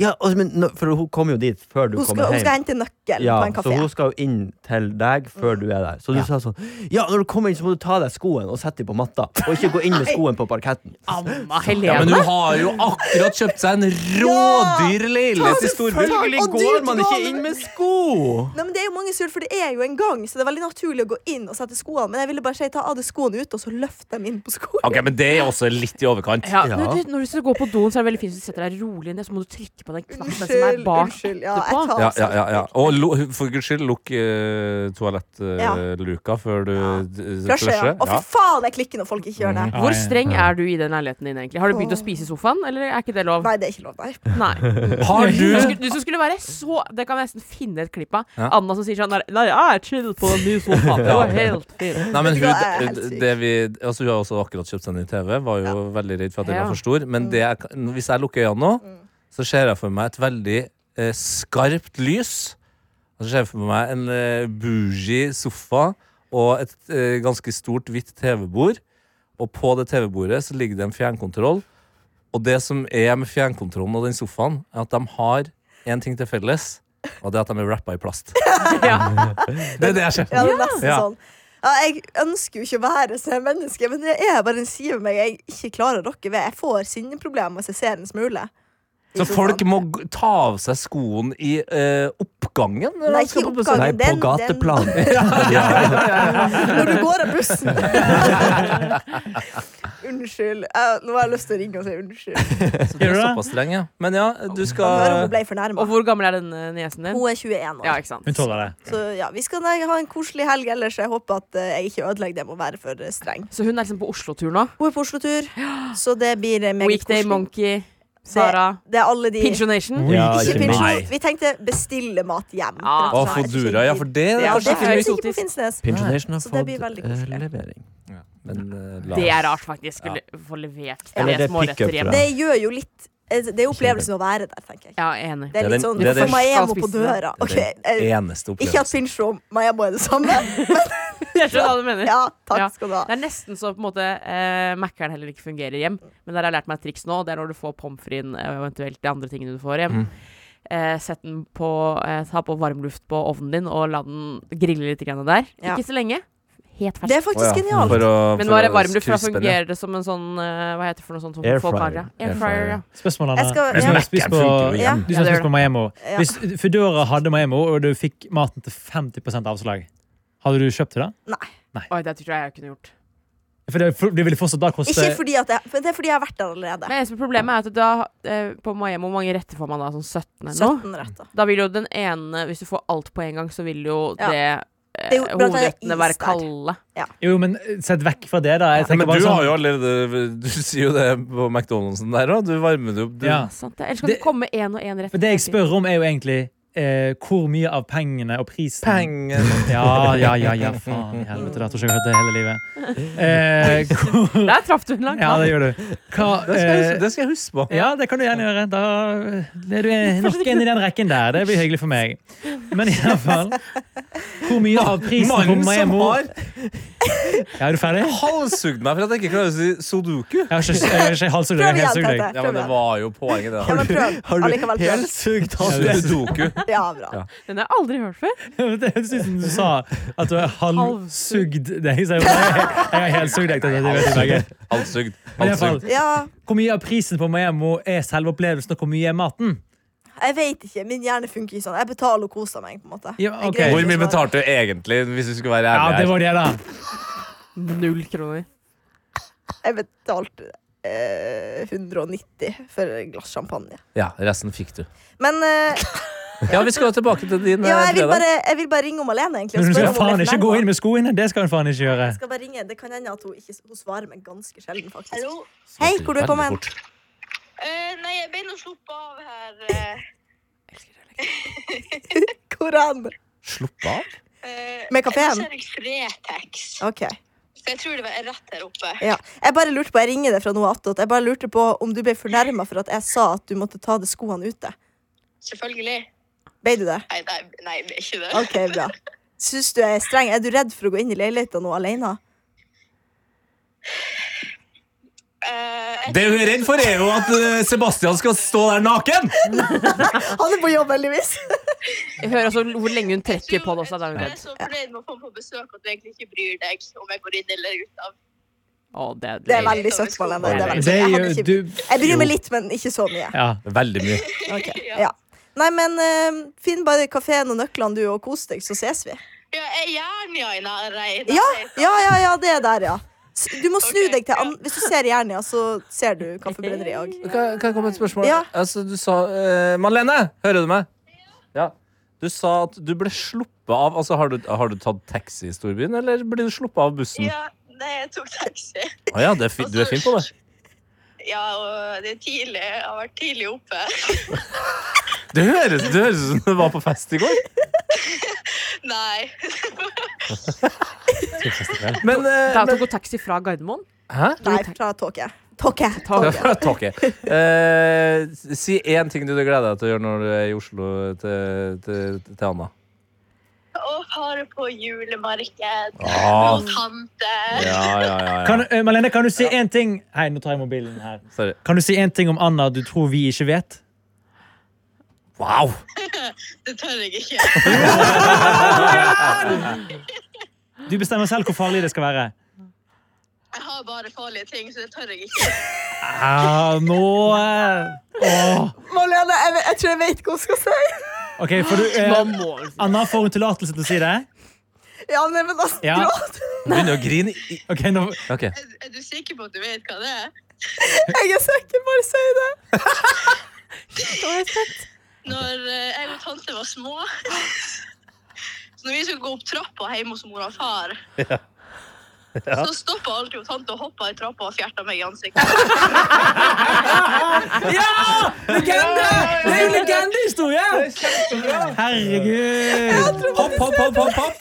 Speaker 9: Ja, og- men, nå- For hun kom jo dit før du
Speaker 8: Hun,
Speaker 9: kom
Speaker 8: skal, hun skal
Speaker 9: hjem.
Speaker 8: hente nøkkel
Speaker 9: Ja,
Speaker 8: på en
Speaker 9: så
Speaker 8: kafé.
Speaker 9: hun skal jo inn til deg før du er der. Så du sa sånn Ja, når du kommer inn, så må du ta av deg skoen og sette dem på matta. Og ikke gå inn med skoen på parketten.
Speaker 5: Amma
Speaker 2: Ja, men
Speaker 5: Helene!
Speaker 2: hun har jo akkurat kjøpt seg en rådyr leilighet i Storby.
Speaker 8: Selvfølgelig Og dyrt går man ikke lån. inn
Speaker 2: med sko!
Speaker 8: Nei, men det er jo mange sur, for det er jo en gang, så det er veldig naturlig å gå inn og sette skoene. Men jeg ville bare si ta av deg skoene ute, og så løft dem inn på skoene.
Speaker 2: Ok, men Det er også litt i overkant.
Speaker 5: Ja, når, du, når du skal gå på doen, så er det veldig fint hvis du setter deg rolig ned, så må du trykke på den knappen som er
Speaker 8: [LAUGHS] Unnskyld,
Speaker 5: bak.
Speaker 8: unnskyld. Ja,
Speaker 5: etterpå.
Speaker 8: jeg tar
Speaker 2: Ja,
Speaker 8: av
Speaker 2: ja,
Speaker 8: selv.
Speaker 2: ja, ja. Og lo, for guds skyld, lukk eh, toalettluka før du eh,
Speaker 8: Flushe, ja.
Speaker 2: flusher.
Speaker 8: Og
Speaker 2: Ja. Mhm.
Speaker 8: for faen, jeg klikker når folk ikke gjør det.
Speaker 4: Ja,
Speaker 5: Hvor
Speaker 4: ja.
Speaker 5: streng er du i den leiligheten din, egentlig? Har du begynt å spise i sofaen, eller er ikke det lov?
Speaker 8: Nei, det er ikke lov, nei.
Speaker 5: Nei.
Speaker 2: Har
Speaker 5: Du,
Speaker 2: du
Speaker 5: skulle- du som skulle være så Det kan jeg nesten finne et klipp av.
Speaker 2: Ja.
Speaker 5: Anna som sier sånn der, Nei, jeg er chill på en ny sofa. Det var helt fint.
Speaker 2: Nei, men
Speaker 8: Vet [LAUGHS] du
Speaker 2: hun,
Speaker 8: hva, jeg er helt
Speaker 2: det,
Speaker 8: syk.
Speaker 2: det vi, altså hun har også akkurat kjøpt seg en ny TV. Var jo veldig redd for at den
Speaker 5: Ja.
Speaker 2: var for stor. Men det jeg, kan- hvis jeg lukker øynene nå,
Speaker 8: Mm.
Speaker 2: så ser jeg for meg et veldig eh, skarpt lys. Og så ser jeg for meg en eh, bougie sofa og et eh, ganske stort hvitt TV-bord. Og på det TV-bordet så ligger det en fjernkontroll. Og det som er med fjernkontrollen og den sofaen, er at de har én ting til felles. Og det er at de er rappa i
Speaker 8: [LAUGHS]
Speaker 2: plast. Det er det jeg ser.
Speaker 8: Ja, det er nesten
Speaker 2: Ja.
Speaker 8: sånn. Ja, jeg ønsker jo ikke å være sånn menneske, men det er bare en side av meg jeg ikke klarer å rokke ved. Jeg får sinneproblemer hvis jeg ser en smule.
Speaker 2: Så folk må g- ta av seg skoen i eh, oppgangen? når
Speaker 8: Nei,
Speaker 2: de skal
Speaker 8: ikke
Speaker 2: på besøk?
Speaker 8: oppgangen.
Speaker 9: Nei,
Speaker 8: den- den-
Speaker 2: [LAUGHS]
Speaker 9: på gateplan.
Speaker 8: Når du går av
Speaker 5: [LAUGHS]
Speaker 8: bussen. unnskyld. Jeg, nå har jeg lyst til å ringe og si unnskyld.
Speaker 2: Så det er
Speaker 4: Gjør du det?
Speaker 2: såpass streng, ja. Men ja, du
Speaker 8: Når hun
Speaker 2: skal
Speaker 8: ble
Speaker 5: Og
Speaker 8: fornærma.
Speaker 5: hvor gammel er den eh, niesen din?
Speaker 8: Hun er 21
Speaker 5: Ja,
Speaker 8: år.
Speaker 5: ikke sant?
Speaker 4: Hun tåler det.
Speaker 8: Så ja, vi skal nei, ha en koselig helg ellers. Jeg håper at eh, jeg ikke ødelegger det med å være for eh, streng.
Speaker 5: Så hun er liksom på Oslo-tur nå?
Speaker 8: Hun er på Oslo-tur, så det blir eh, meget
Speaker 5: Weekday
Speaker 8: koselig.
Speaker 5: Monkey, Sara,
Speaker 8: Det er alle de
Speaker 5: Pigeon Nation?
Speaker 9: Ja,
Speaker 8: Ikke
Speaker 9: ikke
Speaker 8: pensjon.
Speaker 9: minst.
Speaker 8: Vi tenkte bestille mat hjem.
Speaker 5: Ja.
Speaker 8: rett
Speaker 2: Å,
Speaker 8: og slett.
Speaker 2: Fodora, ja, for Altså, det er
Speaker 5: Ah. Ja,
Speaker 2: kanskje
Speaker 8: det
Speaker 2: ikke
Speaker 5: finnes
Speaker 8: finnes
Speaker 2: mye.
Speaker 5: ikke
Speaker 8: ikke på Finnsnes.
Speaker 9: Pinjonation har
Speaker 8: Så det
Speaker 9: fått
Speaker 8: blir veldig
Speaker 9: eh,
Speaker 8: koselig.
Speaker 9: levering.
Speaker 2: Men, eh, la
Speaker 5: Det er
Speaker 2: oss-
Speaker 5: rart, faktisk. Skulle få levert
Speaker 9: Eller
Speaker 5: tre
Speaker 9: det er
Speaker 5: småretter
Speaker 9: pick-up,
Speaker 5: hjem.
Speaker 9: tror
Speaker 8: Det gjør jo litt eh, Det er opplevelsen av å være der, tenker jeg.
Speaker 5: Ja, enig.
Speaker 8: Det er
Speaker 2: Det er
Speaker 8: litt
Speaker 2: den-
Speaker 8: sånn
Speaker 2: det er
Speaker 8: Du
Speaker 2: den-
Speaker 8: får Maemo
Speaker 5: Skal
Speaker 8: på
Speaker 5: spise
Speaker 8: døra.
Speaker 2: Det
Speaker 8: Ok,
Speaker 2: er den
Speaker 8: eh,
Speaker 2: eneste
Speaker 8: ikke at
Speaker 2: opplevelsen.
Speaker 8: Pincho og Maemo er det samme, men
Speaker 5: Jeg skjønner hva du [LAUGHS] mener.
Speaker 8: Ja, takk
Speaker 5: Ja.
Speaker 8: skal du ha.
Speaker 5: Det er nesten så på en måte eh, Mac-eren heller ikke fungerer hjem. Men der har jeg lært meg et triks nå, og det er når du får pommes fritesen og eventuelt de andre tingene du får hjem.
Speaker 9: Mm.
Speaker 5: Eh, sett den på, eh, ta på varmluft på ovnen din og la den grille litt grann der.
Speaker 8: Ja.
Speaker 5: Ikke så lenge. Helt fersk.
Speaker 8: Det er
Speaker 2: Å ja,
Speaker 8: faktisk genialt.
Speaker 2: For å,
Speaker 5: Men
Speaker 2: for
Speaker 5: var det
Speaker 2: å
Speaker 5: varmluft, for da
Speaker 2: kryspe den, ja.
Speaker 5: fungerer det som en sånn eh, Hva heter det for noe sånt? som
Speaker 9: Air
Speaker 5: folk har,
Speaker 9: fryer.
Speaker 5: ja. Air
Speaker 2: Air
Speaker 5: fryer, ja.
Speaker 4: Spørsmålet
Speaker 8: Jeg
Speaker 4: er
Speaker 8: skal-
Speaker 4: du som
Speaker 8: ja.
Speaker 4: har spist på,
Speaker 2: Mac-en funker jo
Speaker 8: Ja.
Speaker 2: hjemme.
Speaker 4: du
Speaker 5: Ja,
Speaker 4: som har
Speaker 5: det
Speaker 4: spist på Miami.
Speaker 8: Ja.
Speaker 4: Hvis Foodora hadde Miami, og du fikk maten til 50 avslag, hadde du kjøpt det? da?
Speaker 5: Oi, det tror jeg jeg kunne gjort.
Speaker 4: For det, for det ville fortsatt da koste
Speaker 8: Ikke fordi at jeg, men det er fordi jeg har vært der allerede.
Speaker 5: Men eneste problemet er at da eh, på Miami, hvor mange retter får man da? Sånn 17 eller noe?
Speaker 8: 17 retter.
Speaker 5: Da vil jo den ene Hvis du får alt på en gang, så vil jo
Speaker 8: Ja.
Speaker 5: det, eh,
Speaker 8: Det er jo blant annet
Speaker 5: hovedrettene være
Speaker 8: is der.
Speaker 5: kalde.
Speaker 4: Jo, men sett vekk fra det, da.
Speaker 2: Ja,
Speaker 4: Jeg tenker
Speaker 2: men
Speaker 4: bare
Speaker 2: du
Speaker 4: sånn,
Speaker 2: har jo allerede Du sier jo det på McDonald'sen der òg. Du varmer det opp. Du,
Speaker 4: ja.
Speaker 5: Sant det? Ellers kan det,
Speaker 4: Det-
Speaker 5: komme én og én rett.
Speaker 4: For det jeg spør om, er jo egentlig eh, hvor mye av pengene og prisen
Speaker 2: Penger.
Speaker 4: Ja, ja, ja, ja, faen i helvete. Da tror ikke jeg har hørt det hele livet.
Speaker 8: [LAUGHS]
Speaker 4: Eh, hvor,
Speaker 5: Der traff du en lang
Speaker 4: ja, det gjør du.
Speaker 2: [LAUGHS]
Speaker 4: Hva,
Speaker 2: Det skal, jeg, huske-
Speaker 4: eh,
Speaker 2: det skal jeg huske på.
Speaker 4: ja, det kan du gjerne gjøre. Da er du nok en i den rekken der. Det blir hyggelig for meg. Men i alle fall Hvor mye av prisen
Speaker 2: Mannen
Speaker 4: kommer jeg
Speaker 2: som
Speaker 4: mot?
Speaker 2: har
Speaker 4: [LAUGHS] Ja, er du ferdig?
Speaker 2: halshugd meg for at jeg ikke klarer å si sudoku.
Speaker 4: Jeg har ikke, jeg har ikke halshugd
Speaker 8: Prøv
Speaker 4: deg.
Speaker 8: igjen,
Speaker 4: Jeg har
Speaker 8: Tete.
Speaker 2: Ja,
Speaker 8: Prøv
Speaker 2: men det
Speaker 8: igjen.
Speaker 2: var jo poenget, det.
Speaker 8: Ja,
Speaker 2: da.
Speaker 8: men prøv.
Speaker 9: [LAUGHS]
Speaker 8: Allikevel prøv.
Speaker 9: sykt
Speaker 2: Sudoku.
Speaker 8: Ja, bra.
Speaker 2: Ja.
Speaker 5: Den har jeg aldri hørt før.
Speaker 4: [LAUGHS] halshugd deg. Jeg synes du sa at du har halvsugd deg. Så jeg bare- jeg har helsugd deg. Tete. Det vet vi begge.
Speaker 2: Halshugd.
Speaker 4: Men i alle fall,
Speaker 2: Halshugd.
Speaker 8: Ja,
Speaker 4: hvor mye av prisen på Miami er selve opplevelsen, og hvor mye er maten?
Speaker 8: jeg vet ikke. Min hjerne funker ikke sånn. Jeg betaler og koser meg, på en måte.
Speaker 4: Ja,
Speaker 8: Jeg
Speaker 4: ok.
Speaker 8: greier ikke
Speaker 2: Hvor mye
Speaker 8: å svare.
Speaker 2: betalte du egentlig, hvis vi skulle være
Speaker 4: Ja,
Speaker 2: ærlige?
Speaker 4: det var det, da.
Speaker 5: Null kroner.
Speaker 8: Jeg betalte eh, 190 for et glass champagne.
Speaker 2: her? Ja, resten fikk du.
Speaker 8: Men eh,
Speaker 2: Ja, vi skal jo tilbake til din
Speaker 8: ja,
Speaker 2: eh,
Speaker 8: jeg, vil
Speaker 2: fredag.
Speaker 8: bare, jeg vil bare ringe om Alene, egentlig.
Speaker 4: Men
Speaker 8: og
Speaker 4: hun
Speaker 8: spørre
Speaker 4: skal
Speaker 8: om hun
Speaker 4: faen
Speaker 8: er
Speaker 4: ikke
Speaker 8: fornærmet.
Speaker 4: gå inn med skoene. Det skal hun faen ikke gjøre.
Speaker 8: Jeg skal bare ringe. Det kan hende at hun ikke hun svarer meg ganske sjelden, faktisk.
Speaker 2: Så
Speaker 8: Hei,
Speaker 2: det
Speaker 8: hvor du
Speaker 2: veldig
Speaker 8: kom hen?
Speaker 2: fort.
Speaker 10: nei, jeg begynner å sluppe av her. eh,
Speaker 8: Hvor er han?
Speaker 2: Slupp av?
Speaker 10: eh,
Speaker 8: Med kafeen?
Speaker 10: Jeg ser Fretex.
Speaker 8: OK.
Speaker 10: Så jeg tror det var rett her oppe.
Speaker 8: Ja. Jeg bare lurte på, jeg ringer deg fra noe attåt. Jeg bare lurte på om du ble fornærma for at jeg sa at du måtte ta av deg skoene ute.
Speaker 10: Selvfølgelig.
Speaker 8: Ble du det?
Speaker 10: Nei, nei, nei det er ikke det.
Speaker 8: OK, bra. Syns du jeg er streng? Er du redd for å gå inn i leiligheten nå alene?
Speaker 10: Eh, jeg
Speaker 2: Det hun er redd for, er jo at eh, Sebastian skal stå der naken!
Speaker 8: Han er på jobb, heldigvis.
Speaker 5: Jeg hører også hvor lenge hun trekker på
Speaker 10: tror-
Speaker 5: det også.
Speaker 10: Jeg
Speaker 5: Der hun
Speaker 10: tror jeg er
Speaker 5: er redd.
Speaker 10: så fornøyd med å få meg på besøk at du egentlig ikke bryr deg om jeg går inn eller ut av.
Speaker 5: Å, det, er
Speaker 8: Det er
Speaker 5: deilig.
Speaker 8: veldig søtt, Malene. Det er
Speaker 4: Det
Speaker 8: veldig søtt. Jeg, hadde
Speaker 4: gjør
Speaker 8: ikke...
Speaker 4: du
Speaker 8: jeg bryr meg litt, men ikke så mye.
Speaker 4: Ja.
Speaker 2: Veldig mye.
Speaker 8: Ok, Ja. Nei, men eh, finn bare kafeen og nøklene, du, og kos deg, så ses vi.
Speaker 10: Ja, jeg er Jernia i nærheten.
Speaker 8: Ja, ja, ja, ja det er der, ja. S- Du må snu
Speaker 10: Ok,
Speaker 8: deg til
Speaker 10: ja.
Speaker 8: an... Hvis du ser Jernia, så ser du Kaffebrenneriet òg.
Speaker 2: Kan, kan jeg komme med et spørsmål?
Speaker 8: Ja.
Speaker 2: Altså, du sa eh, Malene, hører du meg? Ja. Du sa at du ble sluppet av Altså, har du, har du tatt taxi i storbyen, eller blir du sluppet av bussen?
Speaker 10: Ja, nei, jeg tok taxi.
Speaker 2: Å ja, det er fi, du er fin på det.
Speaker 10: Ja, og det er tidlig. Jeg har vært tidlig oppe.
Speaker 2: Det høres det høres ut som du var på fest i går.
Speaker 10: Nei.
Speaker 2: Men, eh,
Speaker 5: Da
Speaker 2: men
Speaker 5: tok hun taxi fra Gardermoen.
Speaker 2: Hæ?
Speaker 8: Nei, fra tåke. Tåke.
Speaker 2: Ja, [LAUGHS]
Speaker 8: tåke.
Speaker 2: fra taket. Eh, si én ting du gleder deg til å gjøre når du er i Oslo til, til, til Anna.
Speaker 10: Og fare på julemarked.
Speaker 2: Ah.
Speaker 10: Og tante.
Speaker 2: Ja, ja, ja. ja.
Speaker 4: Kan, eh, Malene, kan du si én ting Hei, nå tar jeg mobilen her.
Speaker 2: Sorry.
Speaker 4: Kan du si en ting om Anna du tror vi ikke vet?
Speaker 2: Wow!
Speaker 10: Det tør jeg ikke.
Speaker 4: Du bestemmer selv hvor farlig det skal være.
Speaker 10: Jeg har bare farlige ting, så det tør jeg ikke.
Speaker 4: Ah, nå eh, åh.
Speaker 8: [LAUGHS] Malene, jeg, vet- jeg tror jeg vet hva hun skal si. [LAUGHS]
Speaker 4: OK, får du eh, Anna, får hun tillatelse til å si det?
Speaker 8: Ja, nei, men altså,
Speaker 4: Ja.
Speaker 8: gråt. [LAUGHS]
Speaker 2: Begynner å grine. i-
Speaker 4: OK, nå
Speaker 2: Ok.
Speaker 10: Er, er du sikker på at du vet hva det er?
Speaker 8: Jeg er sikker, bare si det.
Speaker 10: Når eh, jeg og tante var små Så når vi skulle gå opp trappa hjemme hos mor og far, så stoppa alltid hun tante og hoppa i trappa og fjerta meg i ansiktet.
Speaker 4: Legende! Det er jo legendehistorie! Herregud.
Speaker 2: Hopp, hopp, hopp, hopp, hopp!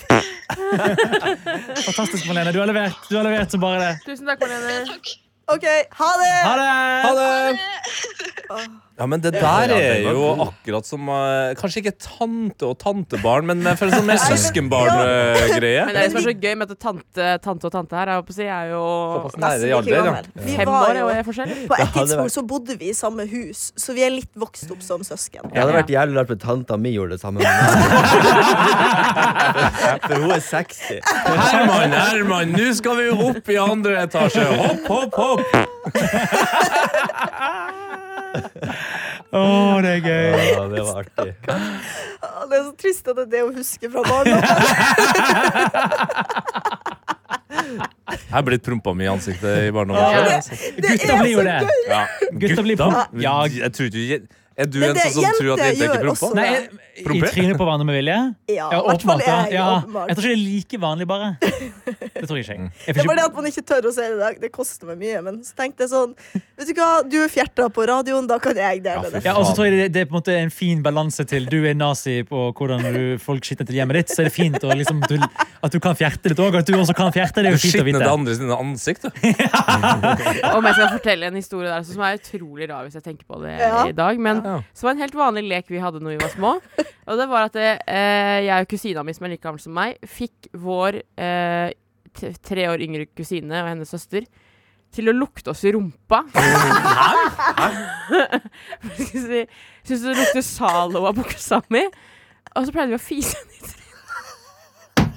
Speaker 4: Fantastisk, Malene. Du har levert, du har levert som bare det.
Speaker 5: Tusen takk, Marlene.
Speaker 10: Takk.
Speaker 8: OK, ha det.
Speaker 10: Eh,
Speaker 4: Ha det!
Speaker 2: Ha det! Ja, men det der er
Speaker 9: den var
Speaker 2: jo
Speaker 9: god.
Speaker 2: akkurat som eh, Kanskje ikke tante og tantebarn, men jeg føler sånn mer søskenbarn-greie.
Speaker 5: Men det er det som er så gøy med at tante, tante og tante her, jeg holdt på å si, er jo
Speaker 2: Såpass
Speaker 8: Nesten
Speaker 2: nære i
Speaker 8: like
Speaker 2: alder, ja.
Speaker 8: gammel. Vi
Speaker 5: fem
Speaker 8: var
Speaker 5: år
Speaker 8: jo
Speaker 5: og er forskjell.
Speaker 8: På et
Speaker 9: Det hadde
Speaker 8: tidspunkt
Speaker 9: vært-
Speaker 8: så bodde vi i samme hus, så vi er litt vokst opp som søsken. [LAUGHS]
Speaker 9: Det hadde vært jævlig rart hvis tanta mi gjorde det samme. For hun er sexy.
Speaker 2: Herman, Herman, nå skal vi opp i andre etasje. Hopp, hopp, hopp.
Speaker 4: Å, det er gøy.
Speaker 9: Ja, det var artig.
Speaker 8: Å, Ah, Det er så trist at det er det hun husker fra barndommen.
Speaker 2: Jeg er blitt prompa mye i ansiktet i barndommen.
Speaker 4: Gutter blir jo det.
Speaker 2: Ja.
Speaker 4: Gutter blir promp- Ja.
Speaker 2: Jeg tror du Er du
Speaker 8: Men
Speaker 2: en
Speaker 8: det
Speaker 2: sånn som tror at
Speaker 8: jenter
Speaker 2: jenter ikke promper?
Speaker 8: gjør også.
Speaker 4: Nei, I
Speaker 2: Promper?
Speaker 4: trynet på hverandre med vilje?
Speaker 8: Ja, i hvert fall
Speaker 4: åpenbart, ja.
Speaker 8: jeg,
Speaker 4: Ja,
Speaker 8: åpenbart.
Speaker 4: Jeg tror ikke det er like vanlig, bare. Det tror jeg ikke. Jeg får
Speaker 8: Det er bare det
Speaker 4: ikke
Speaker 8: at man ikke tør å se det i dag. Det koster meg mye. Men så tenkte jeg sånn Vet du hva, du er fjerta på radioen, da kan jeg dele det.
Speaker 4: ja, og så tror jeg det, det er på en måte en fin balanse til du er nazi på hvordan du, folk skitner til hjemmet ditt. Så er det fint å liksom, du, at du kan fjerte litt òg. At du også kan fjerte, det
Speaker 2: Du
Speaker 4: er jo fint å
Speaker 2: skitner det
Speaker 4: vite.
Speaker 2: andre sine ansikt, du.
Speaker 5: Om jeg skal fortelle en historie der som er utrolig rar hvis jeg tenker på det
Speaker 8: Ja.
Speaker 5: i dag. Men
Speaker 2: Ja.
Speaker 5: så var det en helt vanlig lek vi hadde når vi var små. Og det var at eh, jeg og kusina mi, som er like gammel som meg, fikk vår eh, t- tre år yngre kusine og hennes søster til å lukte oss i rumpa. [LAUGHS] Hva skal jeg si? Syns det lukter Zalo av buksa mi. Og så pleide vi å fise henne i trynet.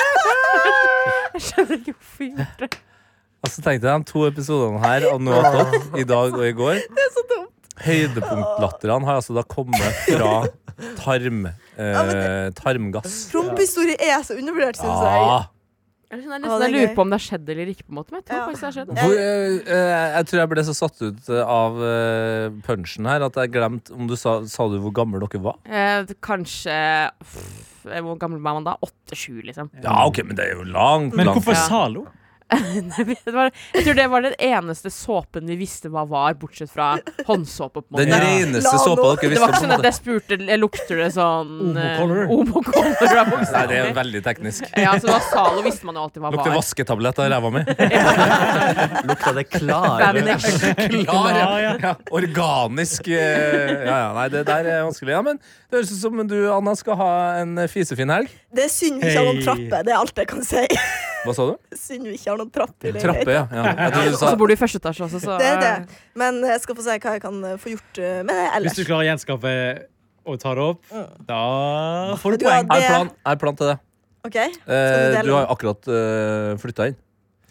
Speaker 5: [LAUGHS] Jeg skjønner ikke hvorfor vi gjorde det.
Speaker 2: Og så tenkte jeg Altså, de to episodene her av Noe attåt, i dag og i går Høydepunktlatterne har altså da kommet fra tarm, eh, tarmgass. Ah.
Speaker 8: Prompehistorie er så undervurdert, syns jeg.
Speaker 4: Ah.
Speaker 2: Ja.
Speaker 5: Jeg, skjønner,
Speaker 8: Å,
Speaker 5: nesten,
Speaker 8: det er
Speaker 5: jeg lurer
Speaker 8: gøy.
Speaker 5: på om det har skjedd eller ikke. på en måte Men jeg tror
Speaker 8: Ja.
Speaker 5: faktisk det har skjedd
Speaker 2: Hvor, eh, eh, jeg tror jeg ble så satt ut eh, av eh, punchen her at jeg glemte om du sa, sa du hvor gammel dere var.
Speaker 5: eh, det- Kanskje pff, Hvor gammel var man da? Åtte-sju, liksom. [LAUGHS]
Speaker 2: Ja, ok, men det er jo langt,
Speaker 4: Men
Speaker 2: langt.
Speaker 4: hvorfor
Speaker 5: Ja.
Speaker 4: Zalo?
Speaker 5: Det var, jeg tror det var den eneste såpen vi visste hva var, bortsett fra håndsåpe. på en
Speaker 2: Den
Speaker 5: måte
Speaker 2: reneste
Speaker 8: La
Speaker 2: såpa dere
Speaker 8: nå-
Speaker 5: Det var
Speaker 2: visste
Speaker 5: ikke
Speaker 2: om.
Speaker 5: sånn at
Speaker 2: det.
Speaker 5: jeg spurte jeg Lukter det sånn eh,
Speaker 4: Omo-colour.
Speaker 5: Omo-colour av buksa
Speaker 2: Nei, det er
Speaker 5: mi?
Speaker 2: veldig teknisk.
Speaker 5: Ja, så da Zalo visste man jo alltid hva
Speaker 2: Lukter
Speaker 5: var. [LAUGHS]
Speaker 2: vasketablett av [LAUGHS] ræva mi.
Speaker 9: Lukta det klar?
Speaker 5: Vanesh.
Speaker 2: Klar, ja.
Speaker 4: Ja, ja.
Speaker 2: ja. Organisk. eh, Ja, ja, nei, det der er vanskelig. Ja, men det høres ut som du, Anna, skal ha en eh, fisefin helg.
Speaker 8: Det er synd vi ikke har noen
Speaker 4: Hei.
Speaker 8: trapper. Det er alt jeg kan si. [LAUGHS]
Speaker 2: Hva sa du?
Speaker 8: Synd vi ikke har noen trapper. i
Speaker 2: Trappe,
Speaker 8: leiligheten.
Speaker 2: ja. ja. Jeg trodde du
Speaker 5: Og
Speaker 2: sa
Speaker 8: Altså,
Speaker 5: så bor du i første etasje også, så
Speaker 8: Det er det. Men jeg skal få se hva jeg kan eh, få gjort eh, med det
Speaker 4: Hvis
Speaker 8: ellers.
Speaker 4: du klarer å gjenskape og ta det opp, da får du
Speaker 8: Du har
Speaker 4: poeng.
Speaker 2: Er
Speaker 8: det-
Speaker 2: plan, er plan til det.
Speaker 8: OK? Skal du
Speaker 2: Eh,
Speaker 8: dele
Speaker 2: du har
Speaker 8: den?
Speaker 2: jo akkurat uh, flytta inn.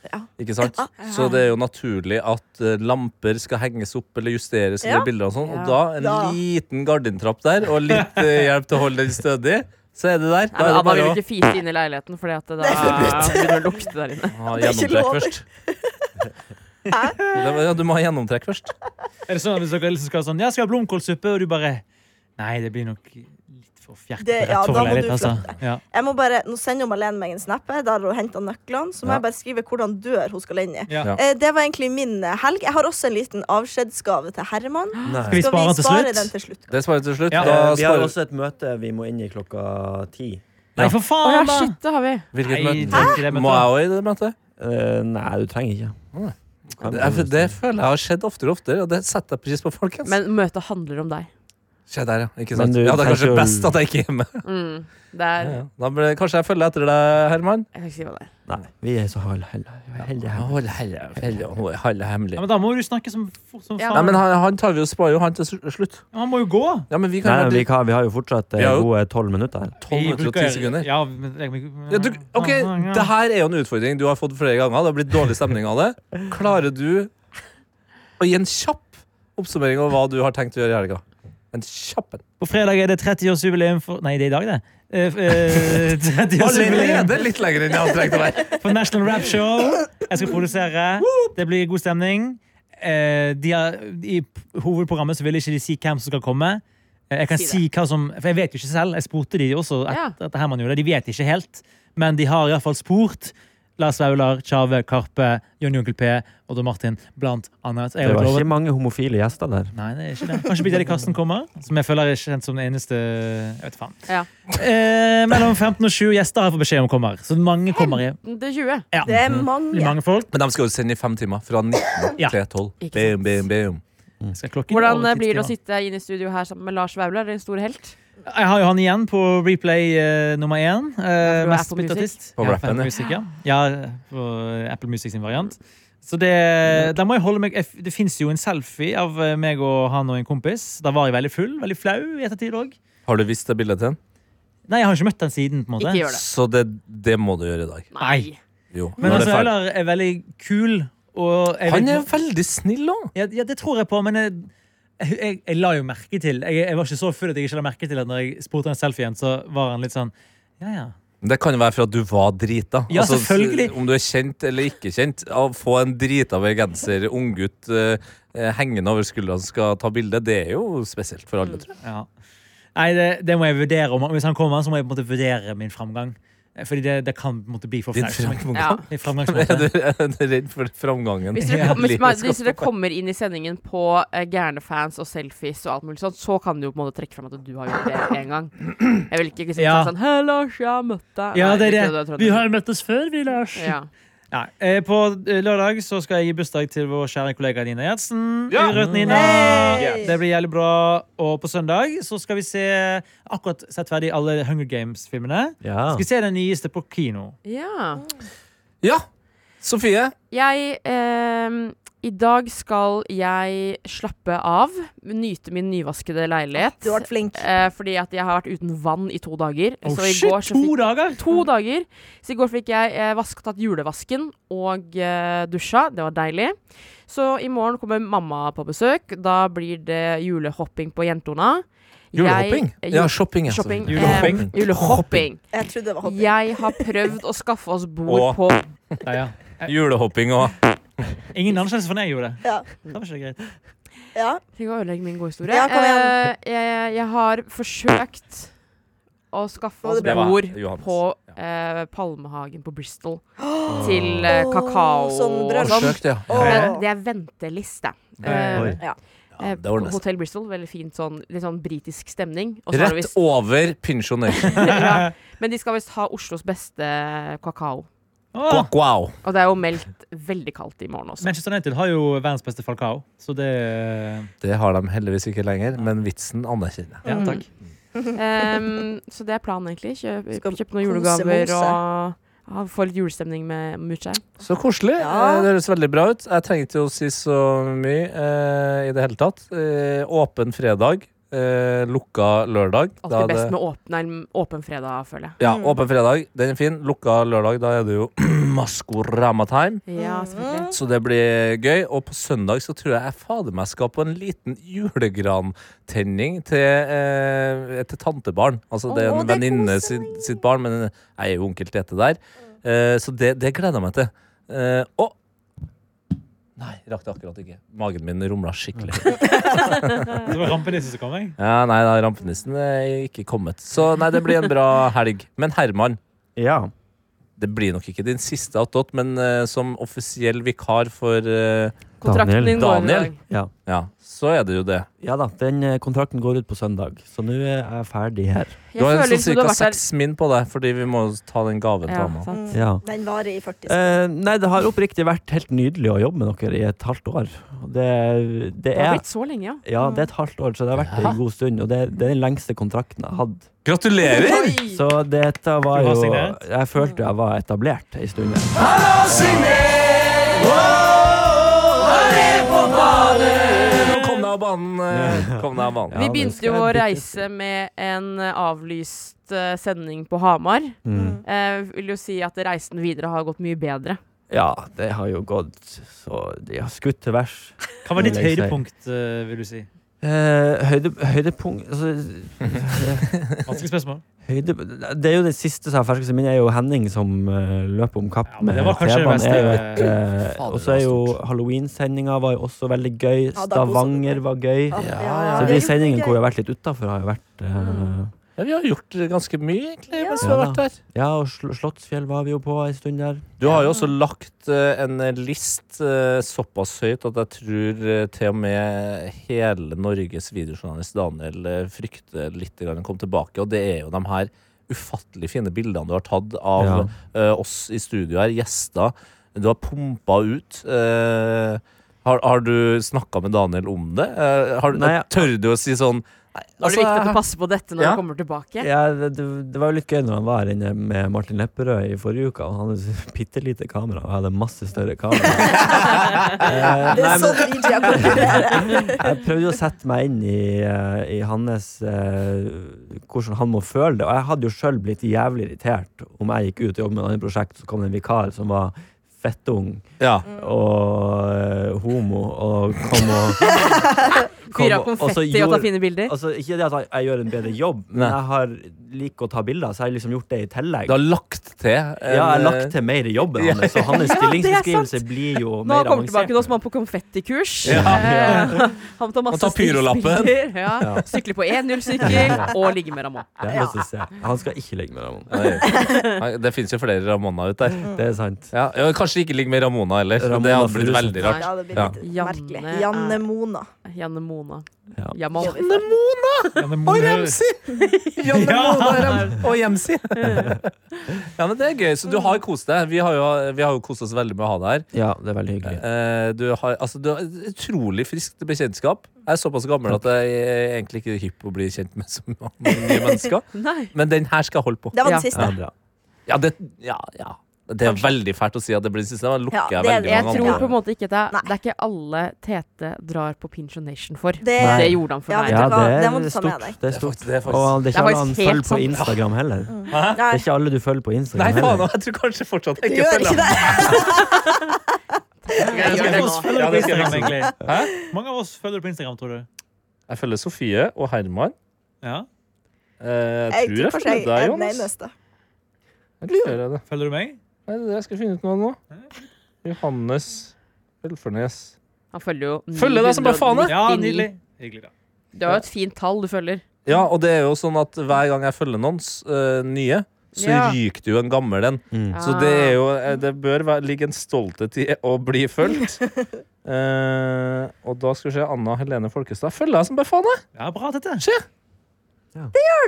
Speaker 8: Ja.
Speaker 2: Ikke sant? Så det er jo naturlig at eh, lamper skal henges opp eller justeres.
Speaker 8: Ja.
Speaker 2: Eller bilder og sånn Og da
Speaker 5: Ja.
Speaker 2: en
Speaker 8: Da.
Speaker 2: liten gardintrapp der og litt eh, hjelp til å holde den stødig, så er det der.
Speaker 5: Nei,
Speaker 2: Da er
Speaker 5: men
Speaker 2: det
Speaker 5: Anna vil
Speaker 2: bare
Speaker 5: jo
Speaker 2: å
Speaker 5: ikke fise inn i leiligheten, Fordi at det da begynner det å lukte der inne.
Speaker 2: ha
Speaker 8: Det er ikke
Speaker 2: gjennomtrekk
Speaker 8: lov. [LAUGHS]
Speaker 2: først. Det, [LAUGHS] ja, du må ha gjennomtrekk først.
Speaker 4: Er det sånn at hvis dere liksom skal sånn, ja, skal jeg ha blomkålsuppe, og du bare Nei, det blir nok litt for fjert.
Speaker 8: Det- ja,
Speaker 4: rett
Speaker 8: da
Speaker 4: for
Speaker 8: må
Speaker 4: leiligheten,
Speaker 8: du
Speaker 4: altså.
Speaker 8: flytte.
Speaker 4: Ja.
Speaker 8: Jeg må bare, Nå sender jo Malene meg en snap. Jeg er Der hun henter nøklene. Så må
Speaker 2: Ja.
Speaker 8: jeg bare skrive hvordan dør hun skal inn i.
Speaker 4: Ja.
Speaker 2: Ja.
Speaker 8: Eh, Det var egentlig min eh, helg. Jeg har også en liten avskjedsgave til Herman.
Speaker 4: Skal vi spare den til
Speaker 8: spare den
Speaker 4: slutt?
Speaker 8: til slutt?
Speaker 2: Det sparer vi til slutt.
Speaker 4: Ja.
Speaker 2: Da
Speaker 9: Eh, Vi har
Speaker 2: sparer
Speaker 9: også et møte vi må inn i klokka ti.
Speaker 4: Nei, for
Speaker 5: Å ja,
Speaker 4: faen, da!
Speaker 5: shit, det har vi.
Speaker 2: Hvilket
Speaker 4: Nei,
Speaker 2: møte?
Speaker 4: det er ikke det møtet.
Speaker 2: Må jeg òg i det møtet?
Speaker 9: Eh, nei, du trenger ikke. Kan
Speaker 2: Det,
Speaker 9: du-
Speaker 2: er- det føler jeg har skjedd oftere og oftere, og det setter jeg pris på, folkens.
Speaker 5: Men møtet handler om deg.
Speaker 2: Se der, ja. Ikke
Speaker 9: Men
Speaker 2: sant?
Speaker 9: du
Speaker 2: Ja, det er kanskje
Speaker 9: tenker jo-
Speaker 2: best at jeg ikke er hjemme.
Speaker 5: Mm. Det er,
Speaker 2: Ja, ja. Da ble, kanskje jeg følger etter deg, Herman.
Speaker 5: Jeg kan ikke si hva det er.
Speaker 9: Nei, vi er så hel- hel- heldige her.
Speaker 2: Hold helle- helle- hold- helle hemmelig.
Speaker 4: Ja, men da må du snakke som fort som
Speaker 5: Ja.
Speaker 2: Nei,
Speaker 4: faen.
Speaker 2: men han, han tar vi jo sparer jo han til sl- slutt.
Speaker 4: Han må jo gå!
Speaker 2: Ja, men vi kan
Speaker 9: Nei,
Speaker 2: jo
Speaker 9: men
Speaker 2: bli
Speaker 9: vi, kan, vi har jo fortsatt eh,
Speaker 2: Vi har jo-
Speaker 9: gode tolv minutter her.
Speaker 2: 12 minutter og 10 sekunder.
Speaker 4: Ja, men, jeg,
Speaker 2: Ja, du, ok, Det her er jo en utfordring du har fått flere ganger. Det har blitt dårlig stemning av det. Klarer du å gi en kjapp oppsummering av hva du har tenkt å gjøre i helga? En kjapp en.
Speaker 4: På fredag er det 30-årsjubileum for Nei, det er i dag, det.
Speaker 2: [LAUGHS]
Speaker 4: Eh, eh, 30-årsjubileum
Speaker 2: Allerede litt lenger enn jeg hadde trengt å være.
Speaker 4: for National Rap Show. Jeg skal produsere. Det blir god stemning. Eh, de har, I p- hovedprogrammet så vil ikke de si hvem som skal komme. Eh, jeg kan
Speaker 5: Si
Speaker 4: si, hva som For jeg vet jo ikke selv. Jeg spurte de også. Et,
Speaker 5: Ja.
Speaker 4: etter Herman gjorde det. De vet ikke helt, men de har iallfall spurt. Lars Vaular, Tjave, Karpe, Jonny Onkel P, Odd og Martin, blant annet. Jeg
Speaker 9: Det
Speaker 4: har
Speaker 9: var
Speaker 4: vært
Speaker 9: ikke
Speaker 4: over-
Speaker 9: mange homofile gjester der.
Speaker 4: Nei, det er ikke det. Kanskje Big Daddy Karsten kommer, som jeg føler er kjent som den eneste Jeg vet faen.
Speaker 5: Ja.
Speaker 4: Eh, mellom 15 og 20 gjester har jeg fått beskjed om kommer. Så mange kommer i
Speaker 5: Det er 20.
Speaker 4: ja.
Speaker 8: Det er
Speaker 4: Det
Speaker 8: mange.
Speaker 4: blir mange folk.
Speaker 2: Men de skal jo sende i fem timer. Fra 19
Speaker 4: Ja.
Speaker 2: til 12.
Speaker 5: Ikke
Speaker 2: Boom,
Speaker 5: sant.
Speaker 2: boom, boom. Mm.
Speaker 4: Skal klokken
Speaker 5: Hvordan
Speaker 4: over
Speaker 5: eh, blir det å
Speaker 4: tidstida?
Speaker 5: sitte inne i studio her sammen med Lars Vaular, en stor helt?
Speaker 4: Jeg har jo han igjen på replay eh, nummer én.
Speaker 5: Ja,
Speaker 4: Uh,
Speaker 5: for
Speaker 4: mest
Speaker 5: Apple
Speaker 4: spilt
Speaker 5: Music.
Speaker 4: artist.
Speaker 2: På
Speaker 4: Ja,
Speaker 2: rappen,
Speaker 4: Apple
Speaker 2: ja.
Speaker 4: Music, ja. ja, på eh, Apple Music sin variant. Så
Speaker 2: Mm.
Speaker 4: det, da må jeg holde meg jeg- Det fins jo en selfie av eh, meg og han og en kompis. Da var jeg veldig full. Veldig flau i ettertid òg.
Speaker 2: Har du vist det bildet til den?
Speaker 4: Nei, jeg har ikke møtt den siden. på en måte
Speaker 5: Ikke gjør det.
Speaker 2: Så det, det må du gjøre i dag.
Speaker 4: Nei.
Speaker 2: Jo.
Speaker 4: Men
Speaker 2: når det
Speaker 4: altså,
Speaker 2: er ferdig.
Speaker 4: Øylar er veldig kul. Og jeg
Speaker 2: Han
Speaker 4: vet-
Speaker 2: er veldig snill òg.
Speaker 4: ja, ja, det tror jeg på, men jeg, jeg, jeg, jeg la jo merke til jeg, jeg var ikke så full at jeg ikke la merke til at når jeg spurte han selfie igjen, så var han litt sånn Ja, ja.
Speaker 2: Det kan jo være for at du var drita. Altså,
Speaker 4: Ja, selvfølgelig.
Speaker 2: Om du er kjent eller ikke kjent. Å få en drita bergenser, unggutt uh, hengende over skuldrene skal ta bilde, det er jo spesielt for alle, tror jeg.
Speaker 4: ja. Nei, det, det må jeg vurdere. Om, hvis han kommer, så må jeg på en måte vurdere min framgang. Eh, Fordi det, det kan på en måte bli for
Speaker 2: Din
Speaker 4: flaut. for meg.
Speaker 2: framgang.
Speaker 5: Ja.
Speaker 4: Min
Speaker 2: Er du
Speaker 4: framgangsmåte.
Speaker 2: er du redd for framgangen?
Speaker 5: Hvis dere,
Speaker 4: Ja,
Speaker 5: kom, hvis,
Speaker 2: livet
Speaker 5: man,
Speaker 2: skal
Speaker 5: hvis dere kommer inn i sendingen på eh, gærne fans og selfies og alt mulig sånt, så kan du jo på en måte trekke fram at du har gjort det en gang. Jeg vil ikke liksom,
Speaker 4: Ja.
Speaker 5: si sånn Hei, Lars, jeg har møtt deg.
Speaker 4: Ja,
Speaker 5: Nei,
Speaker 4: det
Speaker 5: ikke det du
Speaker 4: er det.
Speaker 5: har trodd.
Speaker 4: Vi har møttes før, vi, Lars.
Speaker 5: ja.
Speaker 4: Nei, eh, på eh, lørdag så skal jeg gi bursdag til vår kjære kollega Nina Gjertsen.
Speaker 3: Ja!
Speaker 4: Urørt Nina.
Speaker 8: Hey!
Speaker 4: Det blir jævlig bra. Og på søndag så skal vi se akkurat sett ferdig alle Hunger Games-filmene.
Speaker 9: Ja.
Speaker 4: Skal vi se den nyeste på kino.
Speaker 5: ja.
Speaker 2: Ja! Sofie.
Speaker 5: Jeg ehm, I dag skal jeg slappe av, nyte min nyvaskede leilighet.
Speaker 8: Du har vært flink.
Speaker 5: eh, fordi at jeg har vært uten vann i to dager.
Speaker 4: Oh
Speaker 5: så i
Speaker 4: shit,
Speaker 5: går så
Speaker 4: to
Speaker 5: fikk
Speaker 4: dager!
Speaker 5: [LAUGHS] To dager. Så i går fikk jeg eh, vask, tatt julevasken og eh, dusja. Det var deilig. Så i morgen kommer mamma på besøk. Da blir det julehopping på Jentona. Jeg-
Speaker 2: Julehopping?
Speaker 5: eh,
Speaker 2: ja,
Speaker 5: jul-
Speaker 2: shopping. altså.
Speaker 5: shopping.
Speaker 4: Julehopping.
Speaker 5: Eh, julehopping.
Speaker 8: Jeg trodde det var hopping.
Speaker 5: Jeg har prøvd å skaffe oss bord
Speaker 2: Og-
Speaker 5: på
Speaker 4: Nei, ja.
Speaker 2: Julehopping og
Speaker 4: Ingen anerkjennelse for når jeg gjorde det.
Speaker 8: Ja.
Speaker 4: Det var ikke greit.
Speaker 8: ja.
Speaker 5: Trenger ikke å ødelegge min gode historie.
Speaker 8: Ja, kom igjen.
Speaker 5: Eh, jeg, jeg har forsøkt å skaffe oss
Speaker 8: Det
Speaker 2: var
Speaker 5: bord
Speaker 2: Johannes.
Speaker 5: på eh, Palmehagen på Bristol. Til eh,
Speaker 8: Åh,
Speaker 5: kakao
Speaker 8: sånn
Speaker 5: og
Speaker 8: brunch.
Speaker 5: sånn.
Speaker 2: Forsøkt, ja.
Speaker 8: Åh.
Speaker 5: Men det er venteliste. Eh,
Speaker 9: Oi.
Speaker 8: Ja.
Speaker 2: ja
Speaker 5: eh,
Speaker 2: det ordner seg.
Speaker 5: Hotell Bristol, veldig fint sånn, litt sånn britisk stemning. Og så har det
Speaker 2: Rett
Speaker 5: visst-
Speaker 2: over Pinsjo Nation.
Speaker 5: [LAUGHS] ja. Men de skal visst ha Oslos beste kakao.
Speaker 4: Åh,
Speaker 2: Wow.
Speaker 5: Og det er jo meldt veldig kaldt i morgen også.
Speaker 4: Manchester United har jo verdens beste Falcao, så det
Speaker 2: Det har de heldigvis ikke lenger, men vitsen anerkjenner jeg.
Speaker 4: Ja, takk.
Speaker 5: Ehm, så det er planen, egentlig. Kjøp,
Speaker 8: Skal
Speaker 5: kjøp noen
Speaker 8: kose
Speaker 5: julegaver
Speaker 8: mose.
Speaker 5: og ja, få litt julestemning med mutter'n.
Speaker 2: Så koselig. Eh,
Speaker 8: Ja.
Speaker 2: Det høres veldig bra ut. Jeg trenger ikke å si så mye eh, i det hele tatt. Eh, åpen fredag, eh, lukka lørdag. Da er
Speaker 5: Alltid best
Speaker 2: det-
Speaker 5: med Mm. åpen, nei, åpen fredag, føler jeg.
Speaker 2: ja, åpen fredag, den er fin. Lukka lørdag, da er det jo [CLEARS THROAT] Maskorama-time.
Speaker 5: Ja, selvfølgelig.
Speaker 2: Så det blir gøy. Og på søndag så tror jeg jeg fader meg skal på en liten julegrantenning til, eh, til tantebarn. Altså det er
Speaker 8: Åh,
Speaker 2: en
Speaker 8: det er
Speaker 2: venninne sitt, sitt barn, men jeg er jo onkel Tete der. Eh, så det, det gleder jeg meg til. Eh, og Nei, rakk det akkurat ikke. Magen min rumla skikkelig. [LAUGHS]
Speaker 4: Det var rampenissen som kom, jeg.
Speaker 2: Ja, nei, da, rampenissen er ikke kommet. Så nei, det blir en bra helg. Men Herman,
Speaker 9: ja.
Speaker 2: det blir nok ikke din siste attåt, men eh, som offisiell vikar for eh,
Speaker 5: Kontrakten din går i
Speaker 2: Daniel.
Speaker 5: dag.
Speaker 9: Ja.
Speaker 2: Ja, så er det jo det.
Speaker 9: ja da. Den eh, kontrakten går ut på søndag, så nå eh, er jeg ferdig her.
Speaker 5: Jeg
Speaker 2: Du har en sånn
Speaker 5: føler som du har
Speaker 2: cirka
Speaker 5: vært der-
Speaker 2: seks min på deg, fordi vi må ta den gaven til
Speaker 5: Ja,
Speaker 2: han nå.
Speaker 5: sant.
Speaker 9: Ja.
Speaker 8: Den varer i 40 sekunder.
Speaker 9: Eh, nei, det har oppriktig vært helt nydelig å jobbe med dere i et halvt år. Og Det, det
Speaker 5: Det har
Speaker 9: er
Speaker 5: blitt så lenge, ja.
Speaker 9: ja,
Speaker 4: Mm.
Speaker 9: det er et halvt år, så det har vært en god stund. Og det, det er den lengste kontrakten jeg har hatt.
Speaker 2: Gratulerer!
Speaker 9: Så dette var
Speaker 4: Mm. Du har
Speaker 9: jo
Speaker 4: signert?
Speaker 9: Jeg følte jeg var etablert ei stund.
Speaker 2: Nå kom deg av banen. eh, Kom deg av banen.
Speaker 5: Vi
Speaker 9: det
Speaker 5: begynte
Speaker 9: skal
Speaker 5: jo
Speaker 9: jeg
Speaker 5: å
Speaker 9: bytte.
Speaker 5: reise med en eh, avlyst eh, sending på Hamar.
Speaker 9: Mm.
Speaker 5: Eh, vil jo si at reisen videre har gått mye bedre.
Speaker 9: Ja, det har jo gått så De har skutt til værs.
Speaker 4: Hva var ditt
Speaker 9: Må jeg si.
Speaker 4: høydepunkt, eh, vil du si?
Speaker 9: Eh, høyde, høydepunkt
Speaker 4: [LAUGHS]
Speaker 9: altså,
Speaker 4: Vanskelig spørsmål.
Speaker 9: Høyde, det er jo det siste som er ferskest i minnet, er jo Henning som eh, løper om kapp
Speaker 4: Ja, men
Speaker 9: med
Speaker 4: det var kanskje det
Speaker 9: T-banen.
Speaker 4: beste-
Speaker 9: er jo et, eh,
Speaker 2: Fader,
Speaker 9: Og så er
Speaker 2: det
Speaker 9: jo
Speaker 2: var
Speaker 9: Halloween-sendinga var jo også veldig gøy.
Speaker 8: Ja, da koset du
Speaker 9: Stavanger
Speaker 8: deg.
Speaker 9: var gøy.
Speaker 8: Åh,
Speaker 2: Ja,
Speaker 8: ja,
Speaker 9: Så
Speaker 8: det er
Speaker 9: de
Speaker 8: jo
Speaker 9: sendingene
Speaker 8: gøy. Mm.
Speaker 9: hvor jeg har vært litt utafor, har jo vært eh,
Speaker 2: Ja, vi har gjort ganske mye, egentlig, mens vi
Speaker 9: Ja.
Speaker 2: har vært der.
Speaker 9: Ja, og Sl Slottsfjell var vi jo på ei stund der.
Speaker 2: Du har jo også lagt eh, en list eh, såpass høyt at jeg tror eh, til og med hele Norges videojournalist Daniel eh, frykter litt grann å komme tilbake, og det er jo de her ufattelig fine bildene du har tatt av
Speaker 9: Ja.
Speaker 2: eh, oss i studio her, gjester. Du har pumpa ut. eh, har, har du snakka med Daniel om det? Eh, har,
Speaker 9: Nei, jeg-
Speaker 2: tør du å si sånn Nei,
Speaker 5: Var det viktig at du
Speaker 2: jeg-
Speaker 5: passer på dette når
Speaker 2: Ja.
Speaker 5: du kommer tilbake?
Speaker 9: Altså, eh, Ja, det, det det var jo litt gøy når han var her inne med Martin Lepperød i forrige uke. og Han hadde et [LAUGHS] bitte lite kamera, og jeg hadde masse større
Speaker 8: [LAUGHS]
Speaker 9: kamera. Eh,
Speaker 8: Det
Speaker 9: nei,
Speaker 8: er sånn DJ-er konkurrerer.
Speaker 9: Jeg prøvde å sette meg inn i, eh, i hans eh, Hvordan han må føle det. Og jeg hadde jo sjøl blitt jævlig irritert om jeg gikk ut og jobbet med et annet prosjekt, så kom det en vikar som var fettung
Speaker 2: Ja.
Speaker 9: og eh, homo og
Speaker 8: [LAUGHS]
Speaker 9: kom og kom
Speaker 5: Fyre av
Speaker 9: og- og så
Speaker 5: konfetti og ta
Speaker 9: gjorde-
Speaker 5: fine bilder?
Speaker 9: [LAUGHS] Altså, ikke det at jeg, jeg gjør en bedre jobb,
Speaker 2: Nei.
Speaker 9: men jeg har liker å ta bilder, så jeg har liksom gjort det i tillegg.
Speaker 2: Du har lagt til. eh,
Speaker 9: ja, jeg har
Speaker 2: en,
Speaker 9: lagt til mer i jobben hans, så hans stillingsbeskrivelse blir jo
Speaker 5: Nå
Speaker 9: mer
Speaker 5: kommer han tilbake, nå som
Speaker 9: avansert.
Speaker 5: han på konfettikurs.
Speaker 2: Ja.
Speaker 5: Eh, [LAUGHS] Han tar masse
Speaker 2: Han tar pyrolappen.
Speaker 5: stilbilder, Ja. Sykler på 1-0-sykkel og ligger med Ramón.
Speaker 9: Det er masse å se. Han skal ikke ligge med Ramon.
Speaker 2: Nei. Nei, Det fins jo flere Ramona ut der.
Speaker 9: Det er sant.
Speaker 2: Ja, ja, Kanskje ikke ligg med Ramona heller.
Speaker 9: Ramona
Speaker 2: det hadde blitt
Speaker 9: Furuset.
Speaker 2: veldig rart.
Speaker 8: Ja, det blir
Speaker 2: Ja.
Speaker 8: litt
Speaker 5: Janne
Speaker 8: merkelig.
Speaker 5: er-
Speaker 8: Janne Mona.
Speaker 5: Janne Mona.
Speaker 9: Ja.
Speaker 5: Jamal.
Speaker 4: Og Remsi!
Speaker 2: [LAUGHS]
Speaker 4: [LAUGHS]
Speaker 2: Og
Speaker 8: [LAUGHS]
Speaker 2: Jemsi! Ja, men det er gøy. Så du har kost deg. Vi har jo, vi har jo kost oss veldig med å ha deg her.
Speaker 9: Ja, det er veldig hyggelig.
Speaker 2: Eh, Du har, altså, du har et utrolig friskt bekjentskap. Jeg er såpass gammel at jeg er egentlig ikke er hypp på å bli kjent med så mange nye mennesker.
Speaker 5: Nei.
Speaker 2: Men den her skal jeg holde på.
Speaker 8: Det var
Speaker 5: Ja.
Speaker 8: den
Speaker 9: Ja,
Speaker 8: siste.
Speaker 9: bra.
Speaker 2: Ja, det, ja, ja. det er veldig fælt å si at det blir den siste. Da lukker
Speaker 8: Ja,
Speaker 2: jeg
Speaker 8: det er
Speaker 2: veldig
Speaker 8: det.
Speaker 5: Jeg
Speaker 2: mange
Speaker 5: tror på
Speaker 2: andre.
Speaker 5: en måte ikke at
Speaker 8: Nei.
Speaker 5: jeg, Det er ikke alle Tete drar på Pinchon Nation for. Det,
Speaker 8: Det,
Speaker 9: Nei.
Speaker 5: gjorde han for
Speaker 8: Ja,
Speaker 5: meg.
Speaker 8: vet
Speaker 9: Ja,
Speaker 8: du hva? Den må
Speaker 9: det
Speaker 8: du
Speaker 9: er
Speaker 8: ta med
Speaker 9: stort.
Speaker 8: deg.
Speaker 9: Det er
Speaker 2: Det er
Speaker 9: stort.
Speaker 2: faktisk- det er faktisk-
Speaker 9: Og det er
Speaker 5: Det er
Speaker 9: ikke alle han
Speaker 5: faktisk helt
Speaker 9: følger på
Speaker 5: sant.
Speaker 9: Instagram heller.
Speaker 8: Nei,
Speaker 9: Det er ikke alle du følger på
Speaker 2: Nei,
Speaker 9: Instagram
Speaker 2: faen,
Speaker 9: heller.
Speaker 2: jeg tror kanskje fortsatt
Speaker 8: du
Speaker 2: jeg ikke
Speaker 8: gjør
Speaker 2: følger
Speaker 8: ikke det.
Speaker 5: Jeg gjør det nå.
Speaker 2: Ja, det skal jeg
Speaker 4: Instagram,
Speaker 2: også.
Speaker 4: egentlig.
Speaker 2: Hæ?
Speaker 4: Mange av oss følger på Instagram, tror du.
Speaker 2: Jeg følger Sofie og Herman.
Speaker 4: Ja.
Speaker 2: Eh, jeg tror
Speaker 8: Jeg tror
Speaker 2: jeg
Speaker 8: kanskje
Speaker 2: følger
Speaker 8: jeg
Speaker 2: deg,
Speaker 8: er den
Speaker 2: Jonas.
Speaker 8: eneste.
Speaker 2: Jeg tror jeg gjør det.
Speaker 4: Følger du meg?
Speaker 2: Nei, det er det jeg skal finne ut noe nå. Johannes Velfernes.
Speaker 5: Han følger jo
Speaker 2: Følger deg som bare faen, da.
Speaker 5: 999.
Speaker 4: Ja, nydelig. Hyggelig, da.
Speaker 5: Det var jo et fint tall du følger.
Speaker 2: Ja, og det er jo sånn at hver gang jeg følger noen s- eh, nye, så
Speaker 5: Ja.
Speaker 2: ryker det jo en gammel en.
Speaker 9: Mm.
Speaker 2: Så
Speaker 8: Ah.
Speaker 2: det er jo eh, Det bør være, ligge en stolthet i å bli
Speaker 8: [LAUGHS]
Speaker 2: fulgt. Eh, og da skal vi se Anna Helene Folkestad. Følger deg som bare faen, jeg!
Speaker 4: Ja, bra, Tete.
Speaker 8: du?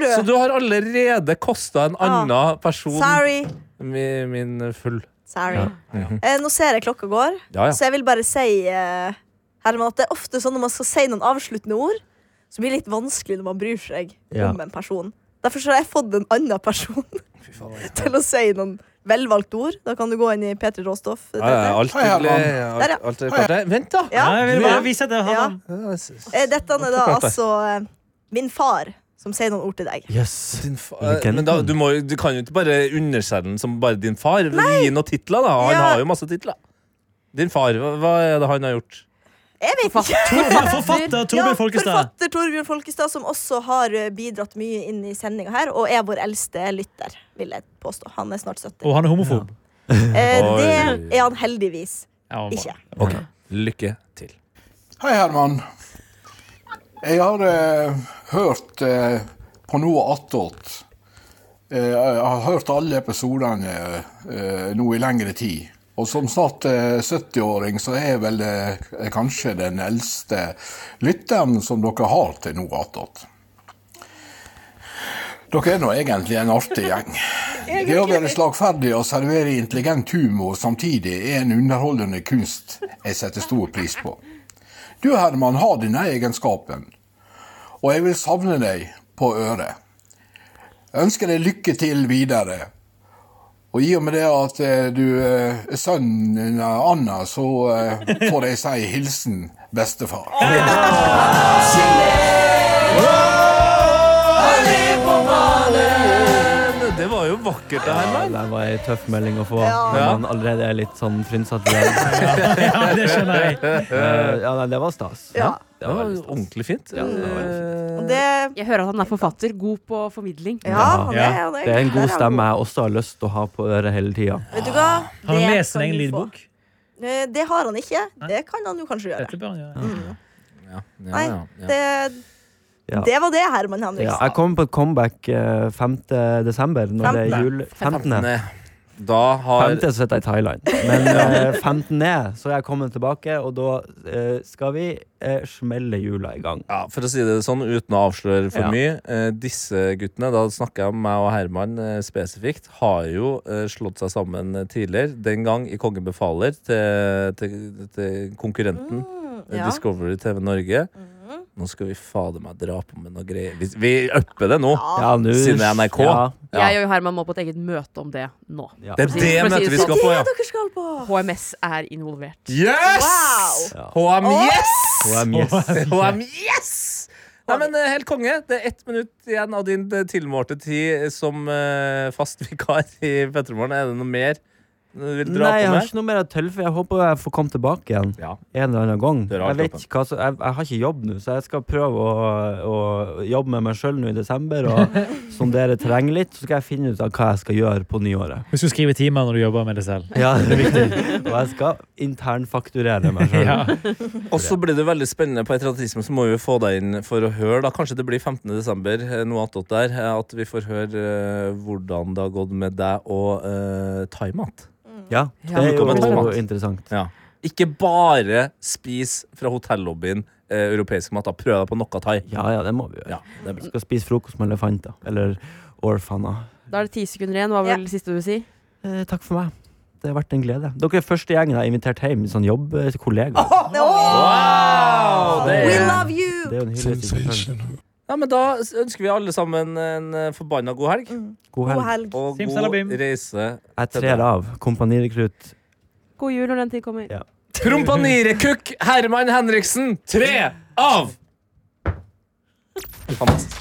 Speaker 2: Så du har allerede kosta en annen person
Speaker 8: Ah. Sorry.
Speaker 2: min, min full.
Speaker 8: Sorry.
Speaker 2: Ja. Mhm.
Speaker 8: Eh, nå ser jeg klokka går,
Speaker 2: Ja, ja.
Speaker 8: så jeg vil bare si eh, Herman, at det er ofte sånn når man skal si noen avsluttende ord, så blir det litt vanskelig når man bryr seg
Speaker 9: Ja.
Speaker 8: om en person. Derfor så har jeg fått en annen person [LAUGHS] til å si noen velvalgte ord. Da kan du gå inn i P3 Råstoff.
Speaker 2: Ja, ja, alt
Speaker 3: Hei, Herman.
Speaker 2: hyggelig.
Speaker 8: Der, ja.
Speaker 2: Alt- alt er klart, det. Vent, da!
Speaker 8: Ja.
Speaker 4: Ja, jeg vil bare vise at jeg har
Speaker 8: Ja.
Speaker 4: den.
Speaker 8: Eh, Dette er da
Speaker 2: Klart det.
Speaker 8: altså eh, min far som sier noen ord til deg.
Speaker 9: Yes.
Speaker 2: Din fa eh,
Speaker 9: Legenden.
Speaker 2: men da, du, må, jo- du kan jo ikke bare underselge den som bare din far. Gi noen titler, da. Han
Speaker 8: Ja.
Speaker 2: har jo masse titler. Din far, hva, hva er det han har gjort?
Speaker 8: Jeg vet ikke! [LAUGHS]
Speaker 4: Forfatter, forfatter Torbjørn Folkestad.
Speaker 8: forfatter Torbjørn Folkestad, som også har eh, bidratt mye inn i sendinga her, og er vår eldste lytter, vil jeg påstå. Han er snart 70.
Speaker 4: Og han er homofob.
Speaker 8: Eh,
Speaker 2: Oi.
Speaker 8: det er han heldigvis
Speaker 4: Ja, bra.
Speaker 8: ikke.
Speaker 2: Ok, Lykke til.
Speaker 11: Hei, Herman. Jeg har eh, hørt eh, på noe attåt. Eh, jeg har hørt alle episodene eh, nå i lengre tid. Og som snart eh, 70-åring så er jeg vel eh, kanskje den eldste lytteren som dere har til noe attåt. Dere er nå egentlig en artig gjeng. Det å være slagferdig og servere intelligent humor samtidig er en underholdende kunst jeg setter stor pris på. Du, Herman, har denne egenskapen, og jeg vil savne deg på øret. Jeg ønsker deg lykke til videre. Og i og med det at eh, du eh, er sønnen din, eh, Anna, så eh, får jeg si hilsen bestefar.
Speaker 2: eh, Det var jo vakkert, det her.
Speaker 9: Ja, det var ei tøff melding å få når man allerede er litt sånn frynsete. Ja.
Speaker 4: Ja, det skjønner jeg.
Speaker 9: Eh, ja, nei, det var stas.
Speaker 8: Ja.
Speaker 9: Det
Speaker 2: Det
Speaker 9: var
Speaker 2: var
Speaker 9: veldig stas.
Speaker 2: ordentlig fint.
Speaker 9: Ja, det var
Speaker 8: Og det
Speaker 5: Jeg hører at han er forfatter, god på formidling.
Speaker 8: Ja, han er,
Speaker 4: Ja,
Speaker 8: han er,
Speaker 9: Det er en
Speaker 8: der
Speaker 9: god
Speaker 8: han
Speaker 9: stemme jeg også har lyst til å ha på øret hele tida.
Speaker 8: Vet du hva?
Speaker 4: Har
Speaker 8: Det
Speaker 4: han lest sin
Speaker 8: kan
Speaker 4: egen
Speaker 8: du få.
Speaker 4: lydbok?
Speaker 8: Eh, Det har han ikke. Det kan han jo kanskje gjøre.
Speaker 4: Dette bør han gjøre.
Speaker 2: Ja, ja,
Speaker 8: Nei,
Speaker 2: ja, ja.
Speaker 8: Det,
Speaker 9: Ja.
Speaker 8: Det var det, Herman
Speaker 9: Ja,
Speaker 8: Henriksen.
Speaker 9: jeg kommer på et comeback eh, 5. desember, når det er
Speaker 8: Femtende.
Speaker 9: jul. 15.
Speaker 2: Da har
Speaker 9: 15. så sitter jeg i Thailand. Men eh, 15. er, så er jeg kommet tilbake, og da eh, skal vi eh, smelle jula i gang.
Speaker 2: Ja, For å si det sånn, uten å avsløre for
Speaker 9: Ja.
Speaker 2: mye. Eh, disse guttene, da snakker jeg om meg og Herman eh, spesifikt, har jo eh, slått seg sammen eh, tidligere. Den gang i Kongen befaler til, til, til konkurrenten eh,
Speaker 9: Mm,
Speaker 8: ja.
Speaker 2: Discovery TV Norge. Nå skal vi fader meg dra på med noe greier. Vi, vi upper det nå,
Speaker 9: Ja, nå-
Speaker 2: siden det er NRK.
Speaker 9: ja.
Speaker 2: Ja.
Speaker 5: Jeg og Herman må på et eget møte om det nå.
Speaker 9: Ja.
Speaker 2: Det er
Speaker 5: For å si-
Speaker 2: det
Speaker 5: for å si
Speaker 2: møtet vi
Speaker 5: sånn.
Speaker 2: skal på, ja.
Speaker 8: Dere skal på
Speaker 5: HMS er involvert.
Speaker 2: Yes!
Speaker 9: Wow!
Speaker 2: HM, yes!
Speaker 9: HM, yes.
Speaker 2: HM, yes! Nei, men eh, Helt konge. Det er ett minutt igjen av din eh, tilmålte tid som eh, fast [LAUGHS] vikar i Petromorgen. Er det noe mer du vil dra
Speaker 9: Nei, jeg
Speaker 2: på
Speaker 9: har
Speaker 2: med?
Speaker 9: ikke noe mer å tilføye. Jeg håper jeg får komme tilbake igjen
Speaker 2: Ja.
Speaker 9: en eller annen gang.
Speaker 2: Døra er
Speaker 9: Jeg, vet
Speaker 2: åpen.
Speaker 9: ikke hva, som- jeg, jeg har ikke jobb nå, så jeg skal prøve å, å jobbe med meg sjøl nå i desember. Og [LAUGHS] sondere terrenget litt, så skal jeg finne ut av hva jeg skal gjøre på nyåret.
Speaker 4: Husk å skrive timer når du jobber med det selv.
Speaker 9: Ja, det er viktig. Og jeg skal internfakturere meg
Speaker 2: [LAUGHS]
Speaker 9: sjøl.
Speaker 4: Ja.
Speaker 2: Og så blir det veldig spennende på Etratisme, så må vi få deg inn for å høre. da Kanskje det blir 15. desember, eh, noe attåt der. eh, At vi får høre eh, hvordan det har gått med deg og uh, Thaimat.
Speaker 9: Ja, det er jo interessant.
Speaker 2: Ja. Ikke bare spis fra hotellobbyen eh, europeisk mat. da Prøv deg på noe thai.
Speaker 9: Ja, ja, det må vi gjøre.
Speaker 2: Ja, det er bra.
Speaker 9: Vi skal spise frokost med elefanter. Eller orfaner.
Speaker 5: Da er det ti sekunder igjen. Hva var vel det siste du vil si?
Speaker 9: Eh, takk for meg. Det har vært en glede. Dere er første gjengen jeg har invitert hjem. Sånn jobbkollega.
Speaker 2: Wow! Det
Speaker 8: We
Speaker 2: er...
Speaker 8: love you!
Speaker 9: Det er jo en hyggelig ting.
Speaker 2: ja, men da s- ønsker vi alle sammen en eh, forbanna god helg.
Speaker 9: God
Speaker 8: God
Speaker 9: helg.
Speaker 8: helg.
Speaker 2: Og
Speaker 4: Simsalabim.
Speaker 2: god reise.
Speaker 9: Jeg trer av. Kompanirekrutt.
Speaker 5: God jul når den tid kommer.
Speaker 2: Kompanirekukk Herman Henriksen, tre av! Fantastisk.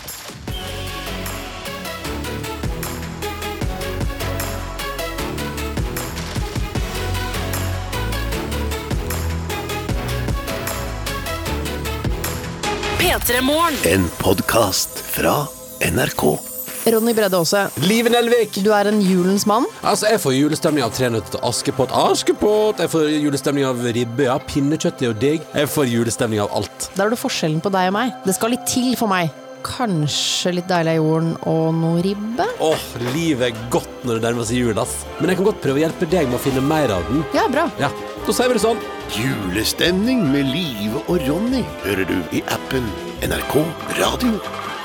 Speaker 12: En podkast fra NRK.
Speaker 13: [LAUGHS] Ronny Bredde Aase,
Speaker 12: Liven Elvik.
Speaker 13: du er en julens mann.
Speaker 12: Altså, Jeg får julestemning av Tre nøtter til Askepott. Askepott! Jeg får julestemning av ribbe. Ja, pinnekjøtt er jo digg. Jeg får julestemning av alt.
Speaker 13: Der er du forskjellen på deg og meg. Det skal litt til for meg. Kanskje litt deilig av jorden og noe ribbe?
Speaker 12: Åh, livet er godt når det nærmer seg jul, ass. Men jeg kan godt prøve å hjelpe deg med å finne mer av den.
Speaker 13: Ja, bra.
Speaker 12: Ja, Da sier vi det sånn.
Speaker 14: Julestemning med Live og Ronny hører du i appen NRK Radio.